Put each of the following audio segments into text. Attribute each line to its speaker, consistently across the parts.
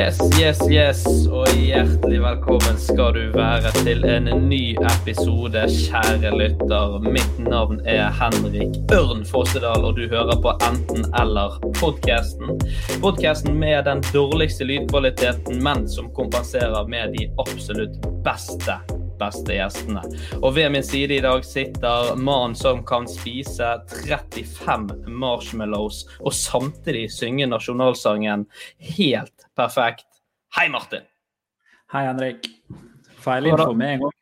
Speaker 1: Yes, yes, yes, og hjertelig velkommen skal du være til en ny episode, kjære lytter. Mitt navn er Henrik Ørn Fossedal, og du hører på Enten eller-podkasten. Podkasten med den dårligste lydkvaliteten, men som kompenserer med de absolutt beste beste gjestene. Og ved min side i dag sitter mannen som kan spise 35 marshmallows og samtidig synge nasjonalsangen helt perfekt. Hei, Martin!
Speaker 2: Hei, Henrik. Feil info med en gang.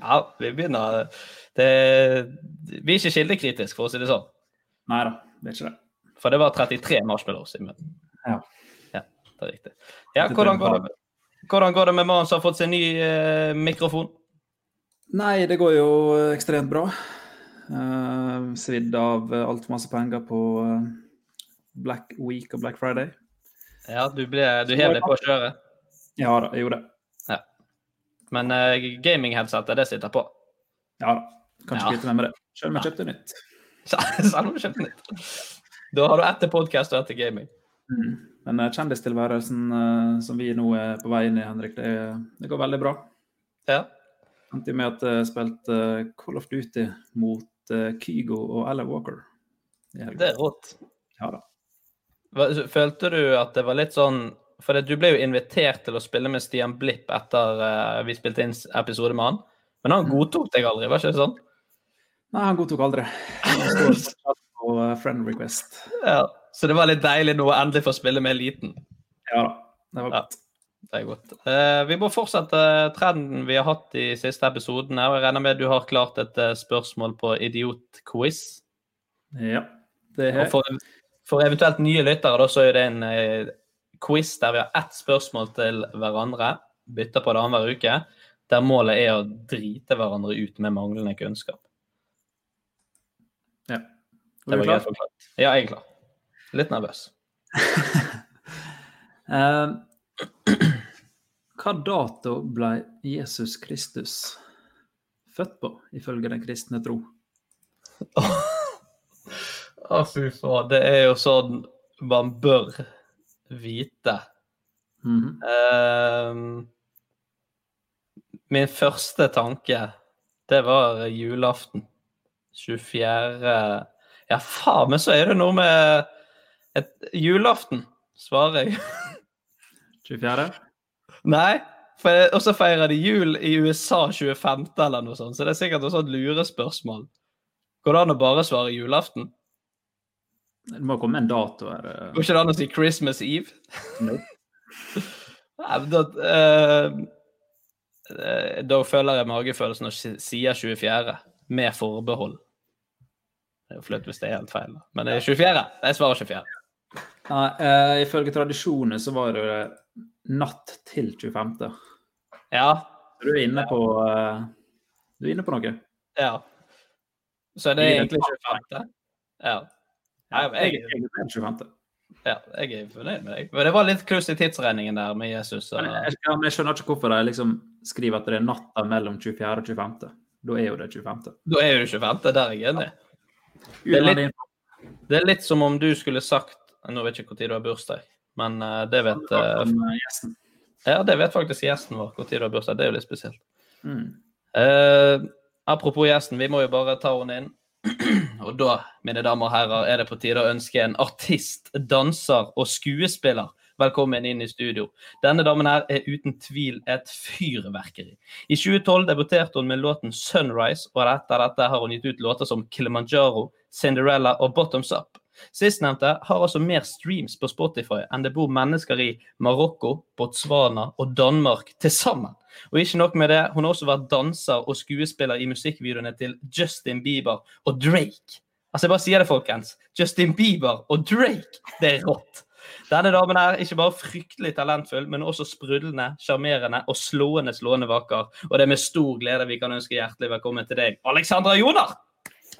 Speaker 1: Ja, vi begynner det, Vi er ikke kildekritiske, for å si det sånn.
Speaker 2: Nei da, det er ikke det.
Speaker 1: For det var 33 marshmallows i munnen.
Speaker 2: Ja.
Speaker 1: Ja, det er riktig. Ja, hvordan går det, hvordan går det med mannen som har fått seg ny eh, mikrofon?
Speaker 2: Nei, det går jo ekstremt bra. Eh, svidd av eh, altfor masse penger på eh, Black Week og Black Friday.
Speaker 1: Ja, du, ble, du hev deg på kjøret.
Speaker 2: Ja da, jeg gjorde det.
Speaker 1: Men uh, gaming-headsetet, det sitter på.
Speaker 2: Ja da. Kan
Speaker 1: Ja.
Speaker 2: ikke kvitte meg med det. Selv om jeg kjøpte nytt.
Speaker 1: Selv om du kjøpte nytt. Da har du ett til podkast og ett til gaming.
Speaker 2: Men eh, kjendistilværelsen eh, som vi nå er på vei inn i, Henrik, det, det går veldig bra.
Speaker 1: Ja.
Speaker 2: Endte jo med at jeg spilte eh, Call of Duty mot eh, Kygo og Ella Walker. i helgen.
Speaker 1: Det er rått.
Speaker 2: Ja da.
Speaker 1: Hva- Følte du at det var litt sånn For det- du ble jo invitert til å spille med Stian Blipp etter eh, vi spilte inn s- episode med han. Men han godtok deg aldri, var ikke det sånn?
Speaker 2: Nei, han godtok aldri. Han står fortsatt på eh, friend request.
Speaker 1: Ja. Så det var litt deilig nå å endelig få spille med eliten.
Speaker 2: Ja da. Det var
Speaker 1: Ja.
Speaker 2: godt.
Speaker 1: Det er godt. Eh, vi må fortsette trenden vi har hatt de siste episodene. og Jeg regner med du har klart et eh, spørsmål på idiotquiz.
Speaker 2: Ja. Det er
Speaker 1: Og for, for eventuelt nye lyttere, da, så er det en eh, quiz der vi har ett spørsmål til hverandre. Bytter på det annenhver uke. Der målet er å drite hverandre ut med manglende kunnskap.
Speaker 2: ja.
Speaker 1: Det
Speaker 2: Er du
Speaker 1: var greit
Speaker 2: klar?
Speaker 1: forklart. Ja, jeg er klar. Litt nervøs.
Speaker 2: Eh, hva dato ble Jesus Kristus født på, ifølge den kristne tro?
Speaker 1: Å, fy faen. Det er jo sånn man bør vite.
Speaker 2: Mhm.
Speaker 1: Ehm, min første tanke, det var julaften. 24. Ja, faen, men så er det noe med et, julaften, svarer jeg.
Speaker 2: 24.?
Speaker 1: Nei, for, og så feirer de jul i USA 25. eller noe sånt, så det er sikkert noe sånt lurespørsmål. Går det an å bare svare julaften?
Speaker 2: Det må komme en dato her. eh.
Speaker 1: Går ikke det an å si Christmas Eve?
Speaker 2: Nei.
Speaker 1: Nei, men da, eh, eh, da føler jeg magefølelsen og si- sier 24. Med forbehold. Det er jo flaut hvis det er helt feil, da. men det er 24. Jeg svarer 24.
Speaker 2: Nei, eh, ifølge tradisjonen så var det natt til 25.
Speaker 1: Ja,
Speaker 2: Du er inne på, eh, du er inne på noe.
Speaker 1: Ja. Så det er egentlig 25. Ja. Nei, men
Speaker 2: Jeg
Speaker 1: jeg,
Speaker 2: er egentlig den 25.
Speaker 1: ja, jeg er fornøyd med deg. Men det var litt kluss i tidsregningen der med Jesus. Så...
Speaker 2: Men jeg, ja, men jeg skjønner ikke hvorfor de liksom skriver at det er natta mellom 24. og 25. Da er jo det 25.
Speaker 1: Da er jo det 25. Der er jeg enig.
Speaker 2: Det
Speaker 1: er
Speaker 2: er
Speaker 1: litt-
Speaker 2: litt...
Speaker 1: Det er litt som om du skulle sagt Nå vet jeg ikke når du har bursdag, men eh, det vet eh,
Speaker 2: gjesten.
Speaker 1: Ja, det vet faktisk gjesten vår når du har bursdag. Det er jo litt spesielt.
Speaker 2: Mm.
Speaker 1: Eh, apropos gjesten, vi må jo bare ta henne inn. Og da, mine damer og herrer, er det på tide å ønske en artist, danser og skuespiller velkommen inn i studio. Denne damen her er uten tvil et fyrverkeri. I 2012 debuterte hun med låten 'Sunrise', og etter dette har hun gitt ut låter som 'Kilimanjaro', 'Cinderella' og 'Bottoms Up'. Sistnevnte har altså mer streams på Spotify enn det bor mennesker i Marokko, Botswana og Danmark til sammen. Og ikke nok med det, hun har også vært danser og skuespiller i musikkvideoene til Justin Bieber og Drake. Altså, jeg bare sier det, folkens. Justin Bieber og Drake, det er rått. Denne damen er ikke bare fryktelig talentfull, men også sprudlende, sjarmerende og slående slående vakker. Og det er med stor glede vi kan ønske hjertelig velkommen til deg, Alexandra Joner!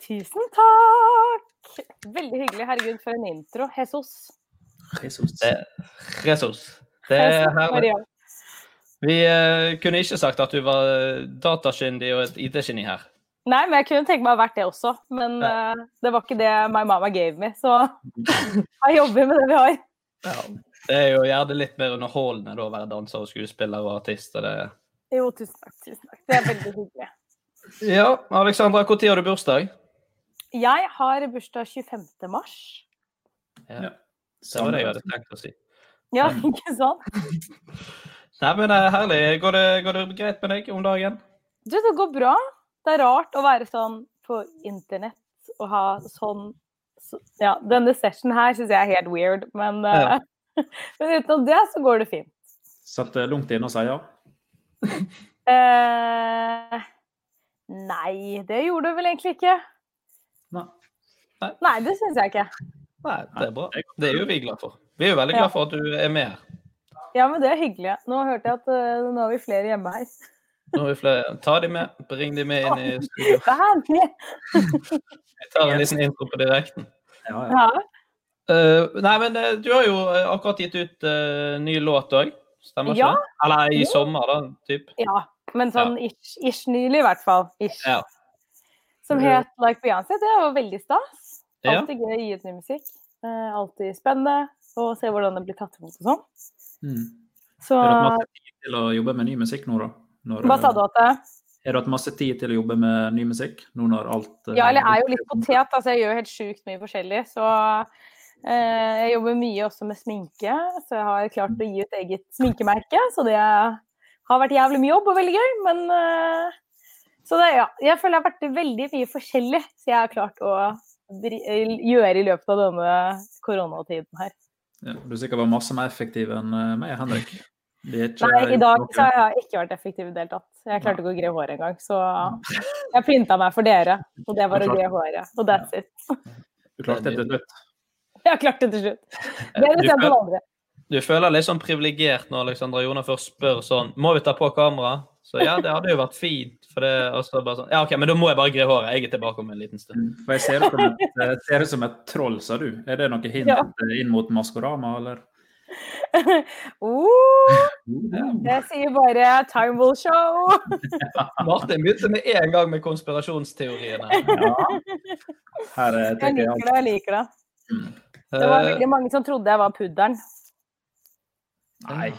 Speaker 3: Tusen takk! Veldig hyggelig. Herregud, for en intro. Jesus.
Speaker 2: Jesus.
Speaker 1: Det, Jesus. Det er
Speaker 3: Jesus
Speaker 1: herlig.
Speaker 3: Maria.
Speaker 1: Vi eh, kunne ikke sagt at du var eh, datakyndig og et IT-geni her.
Speaker 3: Nei, men jeg kunne tenke meg å ha vært det også. Men
Speaker 1: Ja.
Speaker 3: eh, det var ikke det my mama gave me, så jeg jobber med det vi har.
Speaker 1: Ja. Det er jo gjerne litt mer underholdende da, å være danser og skuespiller og artist. Og det.
Speaker 3: Jo, tusen takk. tusen takk. Det er veldig hyggelig.
Speaker 1: Ja, Alexandra, når har du bursdag?
Speaker 3: Jeg har bursdag 25. mars.
Speaker 1: Ja. Det var det jeg hadde tenkt å si.
Speaker 3: Ja, ikke sant?
Speaker 1: Nei, men det er herlig. Går det, går det greit med deg om dagen?
Speaker 3: Du, det går bra. Det er rart å være sånn på internett og ha sånn så, Ja, denne session her syns jeg er helt weird, men, eh, men utenom det så går det fint.
Speaker 2: Satt eh, langt inne og sa ja.
Speaker 3: Eh, nei, det gjorde du vel egentlig ikke.
Speaker 2: Nei.
Speaker 3: Nei, det syns jeg ikke.
Speaker 1: Nei, det er bra. Det er jo vi glad for. Vi er jo veldig glad for at du er med her.
Speaker 3: Ja, men det er hyggelig. Nå hørte jeg at eh, nå har vi flere hjemme her.
Speaker 1: Nå har vi flere. Ta de med. Bring de med inn i studio.
Speaker 3: Vær med!
Speaker 1: Vi tar en liten intro på direkten.
Speaker 2: Ja, ja.
Speaker 3: Ja.
Speaker 1: Eh, nei, men eh, du har jo eh, akkurat gitt ut eh, ny låt òg. Stemmer ikke
Speaker 3: Ja.
Speaker 1: det? Eller i sommer, da. Typ.
Speaker 3: ja. Men sånn ish, ish nylig, i hvert fall. Ish.
Speaker 1: Ja.
Speaker 3: Som het Like Beyoncé. Det var veldig stas.
Speaker 1: Ja.
Speaker 3: Alltid gøy å gi ut ny musikk. Eh, alltid spennende å se hvordan det blir tatt imot og sånn.
Speaker 2: Mm.
Speaker 3: Så
Speaker 2: Har du hatt masse tid til å jobbe med ny musikk nå, da? Når, eh,
Speaker 3: hva sa du at det
Speaker 2: Har du hatt masse tid til å jobbe med ny musikk nå når alt eh,
Speaker 3: Ja, eller jeg er jo litt potet. Altså, jeg gjør helt sjukt mye forskjellig. Så eh, jeg jobber mye også med sminke. Så jeg har klart å gi ut eget sminkemerke. Så det har vært jævlig mye jobb og veldig gøy, men eh, Så det, ja. Jeg føler jeg har vært veldig mye forskjellig, så jeg har klart å bri- gjøre i løpet av denne koronatiden her.
Speaker 2: Ja, du er sikkert var masse mer effektiv enn eh, meg, Henrik. Vi er ikke-
Speaker 3: Nei, i dag så har jeg ikke vært effektiv i det hele tatt. Jeg klarte ikke å gre håret engang, så jeg pynta meg for dere. Og det var å gre håret. Og that's it.
Speaker 2: Du klarte det til slutt.
Speaker 3: Jeg har klart det til slutt. Bedre
Speaker 1: Du
Speaker 3: sent enn
Speaker 1: føler-
Speaker 3: aldri.
Speaker 1: Du føler litt sånn privilegert når Alexandra Joner først spør sånn Må vi ta på kamera? Så ja, det hadde jo vært fint. For det, og så bare sånn Ja, OK, men da må jeg bare gre håret. Jeg er tilbake om en liten stund.
Speaker 2: For jeg ser det som et, jeg ser det som et troll, sa du. Er det noe hint
Speaker 3: Ja.
Speaker 2: eh, inn mot Maskorama, eller?
Speaker 3: Oh,
Speaker 2: Ja.
Speaker 3: jeg sier bare 'time will show'.
Speaker 1: Martin begynte med en gang med konspirasjonsteoriene.
Speaker 2: Her eh,
Speaker 3: Jeg
Speaker 2: tar jeg
Speaker 3: liker det.
Speaker 2: alt.
Speaker 3: jeg liker Det Det var liksom-
Speaker 1: Eh,
Speaker 3: veldig mange som trodde jeg var puddelen.
Speaker 2: Nei.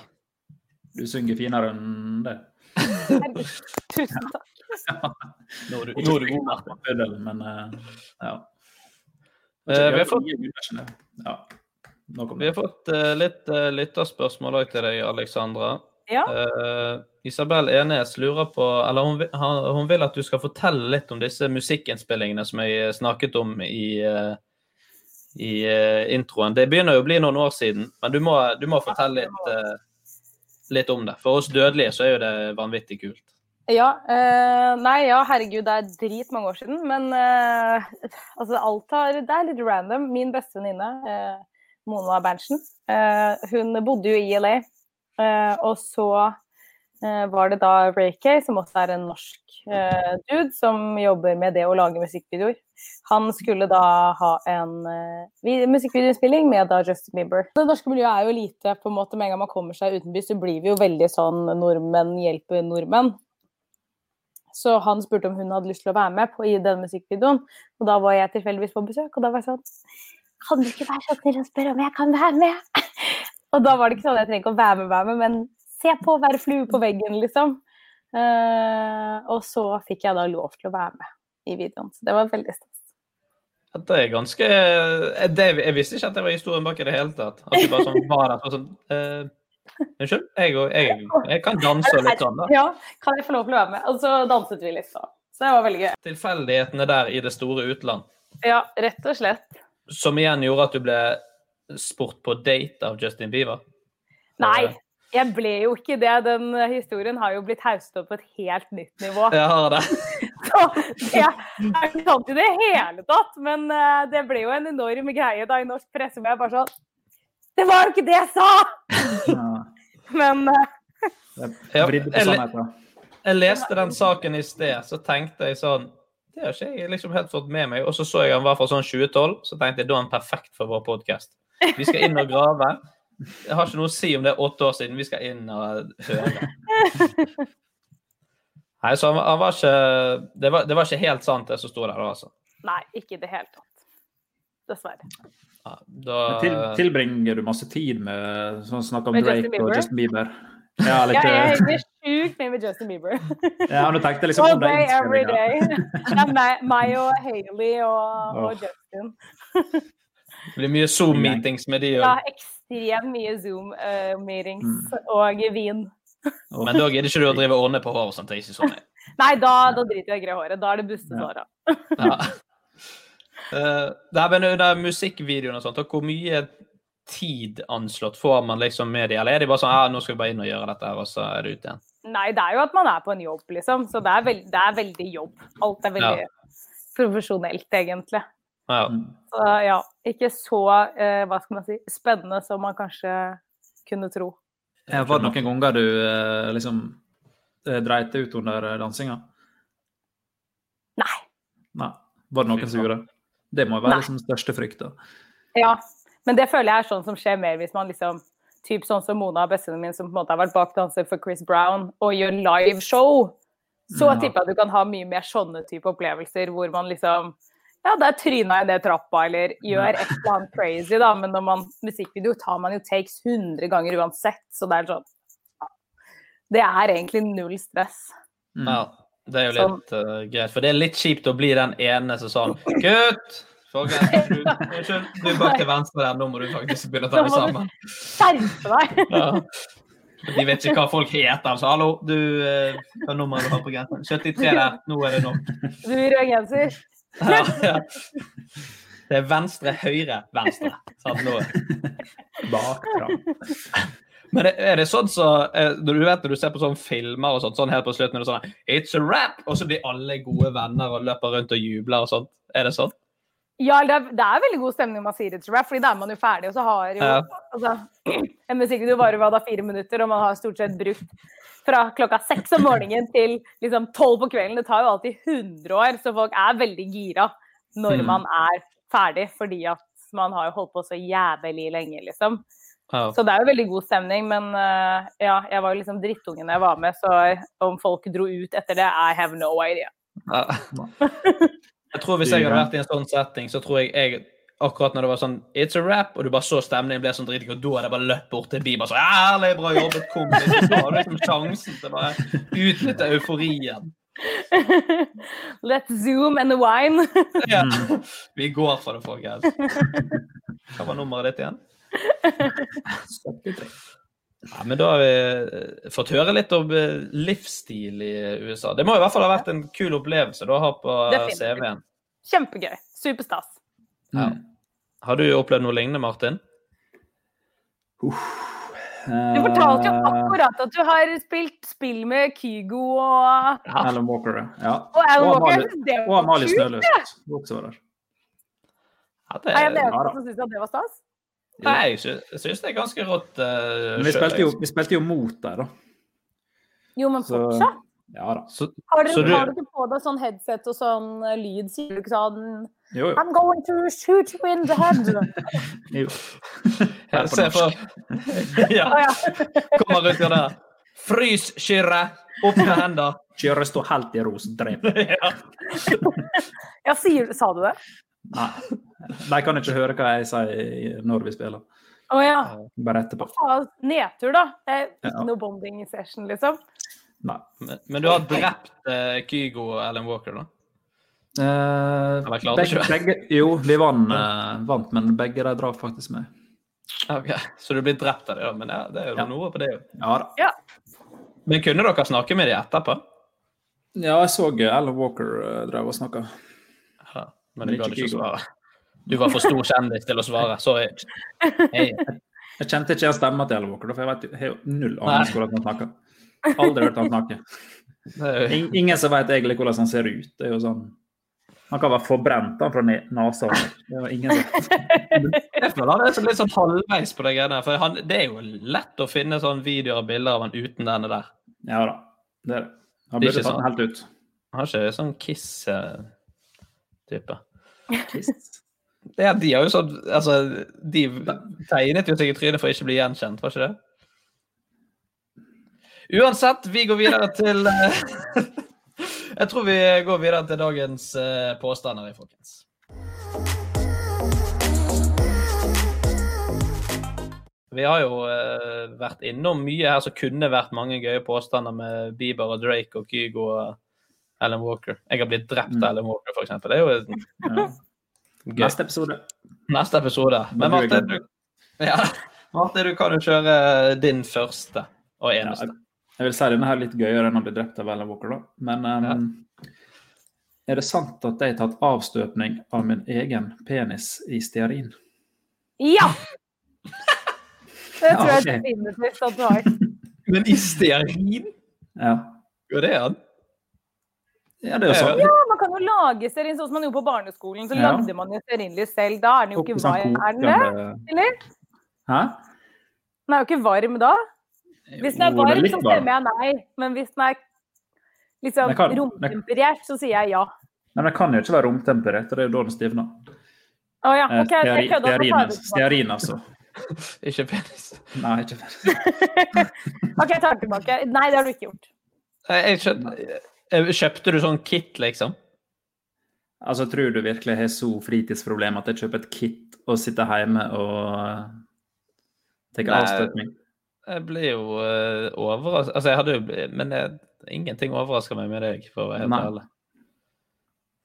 Speaker 2: Du synger finere enn det.
Speaker 3: Herregud, Tusen takk.
Speaker 1: Eh, nå er du, nå er du god, Martin.
Speaker 2: Fødel, men eh, ja.
Speaker 1: Eh, vi har fått-
Speaker 2: Ja. Nok om
Speaker 1: Vi
Speaker 2: det.
Speaker 1: har fått eh, litt uh, lytterspørsmål òg til deg, Alexandra.
Speaker 3: Ja.
Speaker 1: Eh, Isabel Enes lurer på Eller hun, vil- han- hun vil at du skal fortelle litt om disse musikkinnspillingene som jeg eh, snakket om i, eh, i eh, introen. Det begynner jo å bli noen år siden, men du må, du må fortelle litt, eh, litt om det. For oss dødelige så er jo det vanvittig kult.
Speaker 3: Ja, eh, nei, ja, herregud, det er drit mange år siden, men eh, altså, alt har, det er litt random. Min beste venninne, eh, Mona Berntsen, eh, hun bodde jo i LA, eh, og så eh, var det da Ray Kay, som også er en norsk eh, dude som jobber med det å lage musikkvideoer. Han skulle da ha en eh, vi- musikkvideoinnspilling med da Justin Bieber. Det norske miljøet er jo lite på en måte, med en gang man kommer seg utenbys, så blir vi jo veldig sånn nordmenn hjelper nordmenn. Så han spurte om hun hadde lyst til å være med på, i den musikkvideoen. Og da var jeg tilfeldigvis på besøk, og da var jeg sånn Kan du ikke være så snill å spørre om jeg kan være med? Og da var det ikke sånn jeg trenger ikke å være med, være med, men se på, være flue på veggen, liksom. Eh, og så fikk jeg da lov til å være med i videoen. Så det var veldig stas.
Speaker 1: Dette er ganske eh, det, Jeg visste ikke at det var historien bak i det hele tatt. At du bare sånn var der og sånn eh, Unnskyld, jeg, og- jeg, jeg kan danse og litt sånn, da.
Speaker 3: Ja, kan jeg få lov til å være med? Og så danset vi litt, så. Så det var veldig gøy.
Speaker 1: Tilfeldighetene der i det store utland,
Speaker 3: Ja, rett og slett.
Speaker 1: som igjen gjorde at du ble spurt på date av Justin Bieber.
Speaker 3: Nei,
Speaker 1: Eh,
Speaker 3: jeg ble jo ikke det. Den eh, historien har jo blitt hausset opp på et helt nytt nivå.
Speaker 1: Jeg har det.
Speaker 3: Så det er ikke sant i det hele tatt, men eh, det ble jo en enorm greie da i norsk presse hvor jeg bare sånn Det var jo ikke det jeg sa!
Speaker 2: Ja,
Speaker 3: Men eh,
Speaker 1: Ja,
Speaker 2: jeg vridde på
Speaker 1: jeg le-
Speaker 2: sannheten.
Speaker 1: Jeg leste den saken i sted, så tenkte jeg sånn Det har ikke jeg liksom helt fått med meg. Og så så jeg han var fra sånn 2012, så tenkte jeg da er han perfekt for vår podkast. Vi skal inn og grave. Jeg har ikke noe å si om det er åtte år siden. Vi skal inn og høre. Nei, så han, var- han var ikke det var, det var ikke helt sant, det som sto der, da, altså.
Speaker 3: nei, ikke i det hele tatt. Dessverre.
Speaker 1: Ja,
Speaker 2: Men Til,
Speaker 1: Da
Speaker 2: tilbringer du masse tid med sånn snakk om
Speaker 3: Med
Speaker 2: Drake
Speaker 3: Justin
Speaker 2: og
Speaker 3: Bieber?
Speaker 2: Justin Bieber? Ja, eller
Speaker 3: Jeg jeg
Speaker 2: ikke
Speaker 3: henger sjukt mye med Justin Bieber.
Speaker 2: eh, Ja, men du tenkte liksom
Speaker 3: All
Speaker 2: om
Speaker 3: day,
Speaker 2: det
Speaker 3: every
Speaker 2: innspillingen.
Speaker 3: day. Det er meg, meg og Hailey og, og Justin.
Speaker 1: det blir mye Zoom-meetings med de
Speaker 3: Ja,
Speaker 1: òg.
Speaker 3: ekstremt mye Zoom-meetings
Speaker 2: Mm.
Speaker 3: og vin.
Speaker 1: Men da gidder ikke du å drive og ordne på håret og sånt. Det er ikke sånn. jeg.
Speaker 3: Nei, da, da driter jeg i å gre håret. Da er det bustet
Speaker 2: Ja.
Speaker 3: hår av.
Speaker 1: Ja. Eh, nei, men under musikkvideoen og sånt, og hvor mye tid anslått får man liksom med de? Eller er de bare sånn ja, nå skal vi bare inn og gjøre dette her, og så er det ut igjen?
Speaker 3: Nei, det er jo at man er på en jobb, liksom. Så det er, veld, det er veldig jobb. Alt er veldig
Speaker 1: Ja.
Speaker 3: profesjonelt, egentlig.
Speaker 1: Ja.
Speaker 2: Mm.
Speaker 3: Så ja, ikke så eh, hva skal man si, spennende som man kanskje kunne tro.
Speaker 2: Ja, Eh, Var det noen ganger du eh, liksom eh, dreit deg ut under eh, dansinga?
Speaker 3: Nei.
Speaker 2: Nei. Var det noen som gjorde det? Det må jo
Speaker 3: Nei.
Speaker 2: være liksom største frykta.
Speaker 3: Ja, men det føler jeg er sånn som skjer mer hvis man liksom Typ sånn som Mona, bestevennen min, som på en måte har vært bakdanser for Chris Brown, og gjør liveshow. Så
Speaker 2: Ja.
Speaker 3: tipper jeg at du kan ha mye mer sånne type opplevelser hvor man liksom Ja, der tryna jeg ned trappa, eller gjør et eller annet crazy, da. Men når man musikkvideo tar man jo takes 100 ganger uansett, så det er sånn ja. Det er egentlig null stress.
Speaker 2: Mm.
Speaker 1: ja. Det er jo litt eh, greit, for det er litt kjipt å bli den ene som sånn Gutt! Folkens, unnskyld, unnskyld, du er bak til venstre der, nå må du faktisk begynne å ta deg
Speaker 3: Da må
Speaker 1: sammen.
Speaker 3: Skjerpe deg!
Speaker 1: Ja. De vet ikke hva folk heter, altså. Hallo, du eh, Hva nummer er du har på grensen? 73 der, nå er det nok.
Speaker 3: Du i rød genser.
Speaker 1: Ja, ja. Det er venstre, høyre, venstre. Sant, nå.
Speaker 2: Bakfra.
Speaker 1: Men er- er det sånn så eh, Du vet når du ser på sånne filmer og sånt, sånn helt på slutten er det sånn It's a rap! Og så blir alle gode venner og løper rundt og jubler og sånt. Er det sånn?
Speaker 3: Ja, det er, det er veldig god stemning når man sier it's a wrap, fordi da er man jo ferdig, og så har jo
Speaker 1: Ja.
Speaker 3: altså, En musikkvideo varer hva da fire minutter, og man har stort sett brukt fra klokka seks om morgenen til liksom tolv på kvelden. Det tar jo alltid 100 år, så folk er veldig gira når
Speaker 1: Mm.
Speaker 3: man er ferdig, fordi at man har jo holdt på så jævlig lenge, liksom.
Speaker 1: Ja.
Speaker 3: Så det er jo veldig god stemning, men eh, ja, jeg var jo liksom drittungen da jeg var med, så om folk dro ut etter det, I have no idea.
Speaker 1: Ja. Jeg tror Hvis jeg hadde vært i en sånn setting, så tror jeg jeg akkurat når det var sånn It's a rap, og du bare så stemningen ble sånn dritgod, da hadde jeg bare løpt bort til Bieber og sagt Ærlig, bra jobbet, kompis. Så har du liksom sjansen til å bare utnytte euforien.
Speaker 3: Let's zoom and wine.
Speaker 1: Ja. Vi går for det, folkens. Hva var nummeret ditt igjen?
Speaker 2: 73.
Speaker 1: Ja, men da har vi eh, fått høre litt om eh, livsstil i USA. Det må i hvert fall ha vært en kul opplevelse da å ha på eh,
Speaker 3: Definitivt.
Speaker 1: CV-en.
Speaker 3: Kjempegøy. Superstas.
Speaker 1: Ja.
Speaker 2: Mm.
Speaker 1: Har du opplevd noe lignende, Martin?
Speaker 3: Du fortalte
Speaker 2: Eh,
Speaker 3: jo akkurat at du har spilt spill med Kygo og,
Speaker 2: Eh, Alan Walker, ja.
Speaker 3: og Alan
Speaker 2: Og
Speaker 3: Walker.
Speaker 2: Amalie-
Speaker 3: Jeg synes Det
Speaker 2: Og
Speaker 3: var
Speaker 2: Amalie
Speaker 3: kult.
Speaker 2: Snøløst. Hun også var der.
Speaker 1: Ja, det,
Speaker 3: Er jeg den
Speaker 1: nei,
Speaker 2: Ja,
Speaker 3: eneste
Speaker 2: da.
Speaker 3: som syns at det var stas?
Speaker 1: jeg sy- jeg syns det er ganske rått. eh, liksom.
Speaker 2: Men vi
Speaker 1: selv,
Speaker 2: spilte, jo,
Speaker 1: jeg.
Speaker 2: vi spilte jo mot deg, da.
Speaker 3: Jo, men
Speaker 2: Så-
Speaker 3: fortsatt.
Speaker 2: Ja da.
Speaker 1: Så,
Speaker 3: Har du,
Speaker 1: så du,
Speaker 3: har du ikke på deg sånn headset og sånn eh, lyd? Sier du ikke sånn
Speaker 2: Jo, jo.
Speaker 3: I'm going to shoot you in the head.
Speaker 2: jo.
Speaker 1: jeg ser for Ja,
Speaker 3: Å, ja.
Speaker 1: kommer ut av det. Frys, Kyrre! Opp med hender.
Speaker 2: Kjøre stå helt i ros, drep.
Speaker 1: Ja.
Speaker 3: ja, sier du Sa du det?
Speaker 2: Nei. De kan ikke høre hva jeg sier når vi spiller.
Speaker 3: Å ja.
Speaker 2: Bare etterpå.
Speaker 3: Faen, Nedtur, da. Det er ikke
Speaker 2: Ja.
Speaker 3: noe bonding session, liksom.
Speaker 2: Nei.
Speaker 1: Men, men du har drept eh, Kygo og Alan Walker, da?
Speaker 2: Eh,
Speaker 1: Eller klarte
Speaker 2: begge,
Speaker 1: ikke.
Speaker 2: begge, jo, vi vant, eh, vant, men begge de drap faktisk meg.
Speaker 1: Ok, Så du blir drept av det, da? Men ja, det er jo
Speaker 2: Ja.
Speaker 1: noe på det, jo.
Speaker 2: Ja da.
Speaker 1: Men kunne dere snakke med dem etterpå?
Speaker 2: Ja, jeg så eh, Alan Walker eh, drev og snakka.
Speaker 1: Ja, men du
Speaker 2: Men ikke
Speaker 1: gadd ikke
Speaker 2: Kygo.
Speaker 1: svare. Du var for stor kjendis til å svare. Sorry. Hei.
Speaker 2: Jeg kjente ikke igjen stemmen til Alan Walker, da, for jeg vet, jo- jeg har jo null
Speaker 1: Nei.
Speaker 2: anelse hvordan han snakker. Aldri hørt han snakke.
Speaker 1: Det er jo-
Speaker 2: In- Ingen som vet egentlig hvordan han ser ut. Det er jo sånn Han kan være forbrent han, fra ne- nesa. Det er jo ingen som
Speaker 1: Jeg føler han er så litt sånn halvveis på de greiene her. For han, det er jo lett å finne sånn videoer og bilder av han uten denne der.
Speaker 2: Ja da. Det er det.
Speaker 1: Det
Speaker 2: Han
Speaker 1: er
Speaker 2: burde
Speaker 1: ikke
Speaker 2: tatt den helt ut.
Speaker 1: Han har ikke sånn Kiss-type.
Speaker 2: Trist.
Speaker 1: Det er, de har jo sånn Altså, de tegnet jo seg i trynet for å ikke bli gjenkjent, var ikke det? Uansett, vi går videre til eh, Jeg tror vi går videre til dagens eh, påstander, jeg, folkens. Vi har jo eh, vært innom mye her som kunne vært mange gøye påstander med Bieber og Drake og Kygo og Alan Walker. Jeg har blitt drept
Speaker 2: Mm.
Speaker 1: av Alan Walker, for eksempel. Det er jo
Speaker 2: Ja.
Speaker 1: gøy.
Speaker 2: Neste episode.
Speaker 1: Neste episode. Men
Speaker 2: Da blir
Speaker 1: Marte,
Speaker 2: jeg
Speaker 1: du,
Speaker 2: glad.
Speaker 1: ja, Marte, du kan jo kjøre eh, din første og
Speaker 2: Ja,
Speaker 1: eneste.
Speaker 2: jeg, jeg vil si denne her litt gøyere enn å bli drept av Alan Walker, da. Men ehm, er det sant at jeg har tatt avstøpning av min egen penis i stearin?
Speaker 3: Ja! Det
Speaker 2: Ja,
Speaker 3: tror jeg
Speaker 2: ok.
Speaker 3: definitivt at du har.
Speaker 1: Men i stearin?
Speaker 2: Ja.
Speaker 1: Går det an?
Speaker 2: ja, det er jo sånn.
Speaker 3: Ja, man kan jo lage stearin sånn som man gjorde på barneskolen. Så
Speaker 2: Ja.
Speaker 3: lagde man jo stearinlys selv. Da er den jo ikke
Speaker 2: Sånn
Speaker 3: varm, er den det?
Speaker 2: kokende-
Speaker 3: Eller?
Speaker 2: Hæ?
Speaker 3: Den er jo ikke varm da. Hvis den er
Speaker 2: Jo, det
Speaker 3: varm,
Speaker 2: litt
Speaker 3: så
Speaker 2: varm.
Speaker 3: stemmer jeg nei. Men hvis den er liksom
Speaker 2: Den kan- den-
Speaker 3: romtemperert, så sier jeg ja.
Speaker 2: Nei, men det kan jo ikke være romtemperert, og det er jo da den stivner.
Speaker 3: Å ja,
Speaker 2: Eh,
Speaker 3: Ah, OK. Jeg
Speaker 2: stearin-
Speaker 3: kødda. så tar jeg
Speaker 2: stearin-
Speaker 3: det tilbake.
Speaker 2: Stearin, altså.
Speaker 1: Ikke penis.
Speaker 2: Nei, ikke det.
Speaker 3: OK, jeg tar det tilbake. Nei, det har du ikke gjort.
Speaker 1: Nei, Jeg skjønner. Eh, Kjøpte du sånn kit, liksom?
Speaker 2: Altså, tror du virkelig jeg har så fritidsproblem at jeg kjøper et kit og sitter hjemme og eh, tar
Speaker 1: Nei.
Speaker 2: avstøpning?
Speaker 1: Jeg ble jo uh, overraska Altså, jeg hadde jo bl- Men det, ingenting overrasker meg med deg, for å være helt
Speaker 2: Nei.
Speaker 1: ærlig.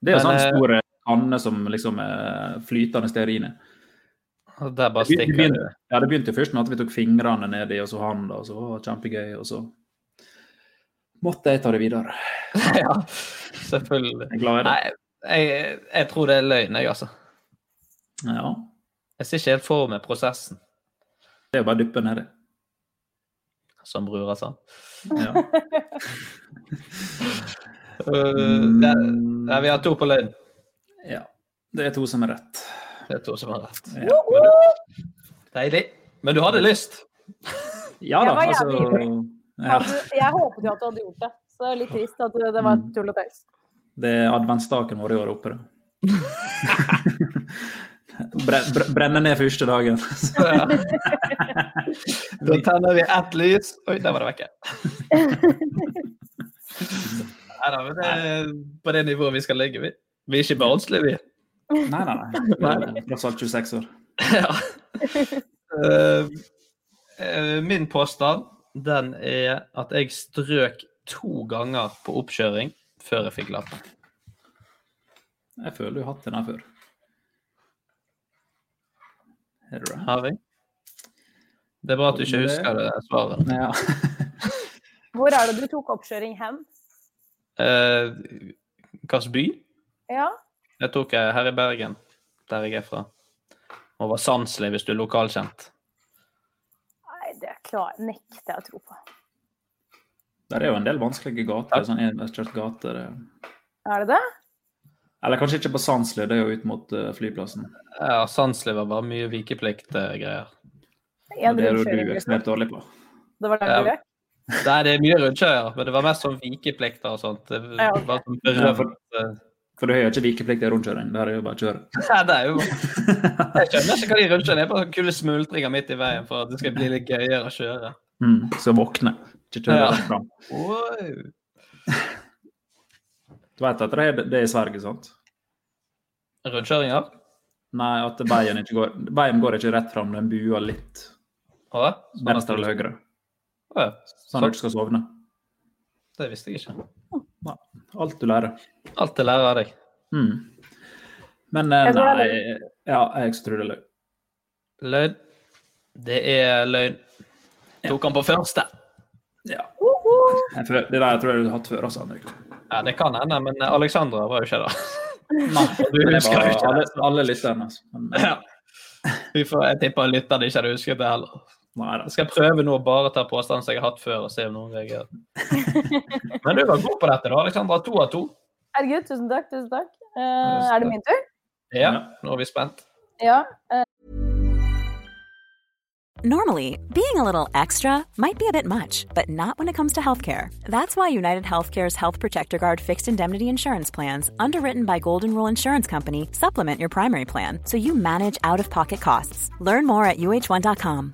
Speaker 2: Det er
Speaker 1: Men,
Speaker 2: jo sånn
Speaker 1: eh,
Speaker 2: store kanne som liksom er flytende stearin i.
Speaker 1: Og Der bare
Speaker 2: Det
Speaker 1: stikker
Speaker 2: begynte-
Speaker 1: du.
Speaker 2: begynte- Ja, det begynte jo først med at vi tok fingrene ned i, og så handa, og så å, kjempegøy, og så måtte jeg ta det videre.
Speaker 1: ja, selvfølgelig.
Speaker 2: Jeg er glad i
Speaker 1: Nei, jeg, jeg tror det er løgn, jeg, altså.
Speaker 2: det. Ja,
Speaker 1: Jeg ser ikke helt for meg prosessen,
Speaker 2: det er jo bare å dyppe nedi.
Speaker 1: som altså. brura sa.
Speaker 2: Ja.
Speaker 1: Eh,
Speaker 2: Mm.
Speaker 1: det, nei, vi har to på løgn.
Speaker 2: ja. Det er to som er rett.
Speaker 1: Det er to som har rett.
Speaker 2: Ja,
Speaker 1: Deilig. Men du hadde lyst.
Speaker 2: ja
Speaker 3: Jeg
Speaker 2: da,
Speaker 3: var
Speaker 2: altså
Speaker 3: jævlig
Speaker 2: ja.
Speaker 3: Hadde- Jeg håpet jo at du hadde gjort det. Så det er litt trist at det var
Speaker 2: Mm.
Speaker 3: tull og tøys.
Speaker 2: Det er adventsstaken vår i år oppe, da. Bre bre brenne ned første dagen.
Speaker 1: Da tenner vi ett lys. Oi, der var det vekke. Nei da, men det er på det nivået vi skal ligge. Vi, vi er ikke barnslige, vi.
Speaker 2: Nei, nei, nei. Tross alt 26 år.
Speaker 1: Ja. Eh, eh, min påstand den er at jeg strøk to ganger på oppkjøring før jeg fikk lappen.
Speaker 2: Jeg føler du har hatt den her før. Er du det?
Speaker 1: Har jeg? Det er bra at du ikke husker det svaret.
Speaker 2: Ja.
Speaker 3: Hvor er det du tok oppkjøring hen?
Speaker 1: Eh, Hvilken by?
Speaker 3: Ja.
Speaker 1: Jeg tok eh, her i Bergen, der jeg er fra. Og var sanselig hvis du er lokalkjent.
Speaker 3: Nei, det klar- nekter jeg å tro på.
Speaker 2: Der er jo en del vanskelige gater. sånn enveiskjørt gate. det-
Speaker 3: Er det det?
Speaker 2: Eller kanskje ikke på Sandsli, det er jo ut mot eh, flyplassen.
Speaker 1: Ja, sanselig var bare mye vikeplikt-greier.
Speaker 3: En
Speaker 2: det er jo
Speaker 3: rundkjøring,
Speaker 2: du
Speaker 3: liksom.
Speaker 2: ekstremt dårlig på.
Speaker 3: Det var der
Speaker 1: Ja.
Speaker 3: du røk?
Speaker 1: Nei, det er mye rundkjøringer, men det var mest sånn vikeplikter og sånt. Det
Speaker 3: Ja,
Speaker 1: var
Speaker 3: ok.
Speaker 1: sånn
Speaker 2: Ja,
Speaker 1: berømt.
Speaker 2: for, for du har jo ikke vikeplikt i rundkjøring. Der er jo bare å kjøre.
Speaker 1: Nei, det er jo Jeg skjønner ikke hva de rundkjørene er. Bare sånne kule smultringer midt i veien for at det skal bli litt gøyere å kjøre.
Speaker 2: Mm, så våkne. Ikke kjøre
Speaker 1: Ja.
Speaker 2: rett fram.
Speaker 1: Wow.
Speaker 2: Du vet at det er, det er i Sverige, sant?
Speaker 1: Rundkjøringer?
Speaker 2: Nei, at veien ikke går Veien går ikke rett fram, den buer litt
Speaker 1: Å, sånn at-
Speaker 2: venstre eller høyre.
Speaker 1: Å, ja.
Speaker 2: Sånn at du ikke skal sovne.
Speaker 1: Det visste jeg ikke.
Speaker 2: Alt du lærer.
Speaker 1: Alt jeg lærer av deg.
Speaker 2: Mm. Men eh,
Speaker 3: Jeg tror det
Speaker 2: nei
Speaker 3: er
Speaker 2: Ja, jeg også tror det er løgn.
Speaker 1: Løgn. Det er løgn. Tok han på første?
Speaker 2: Ja. Jeg tror- Det der tror jeg du har hatt før, altså, Henrik.
Speaker 1: Ja, det kan hende, men Alexandra var jo ikke der.
Speaker 2: Nei,
Speaker 1: Du
Speaker 2: det
Speaker 1: husker
Speaker 2: var
Speaker 1: jo ikke
Speaker 2: alle,
Speaker 1: det.
Speaker 2: alle lytterne. Altså. Men,
Speaker 1: Ja. Vi får, jeg tipper lytterne ikke hadde husket det heller.
Speaker 2: nei, da.
Speaker 1: Jeg skal prøve nå å bare ta påstanden som jeg har hatt før, og se om noen reagerer. Men du var god på dette, da, Alexandra. To av to.
Speaker 3: Herregud, tusen takk. Tusen takk. Eh, er det min tur?
Speaker 1: Ja, nå er vi spent.
Speaker 3: Ja.
Speaker 4: Normally, being a little extra might be a bit much, but not when it comes to healthcare. That's why United Healthcare's Health Protector Guard fixed indemnity insurance plans, underwritten by Golden Rule Insurance Company, supplement your primary plan so you manage out of pocket costs. Learn more at uh1.com.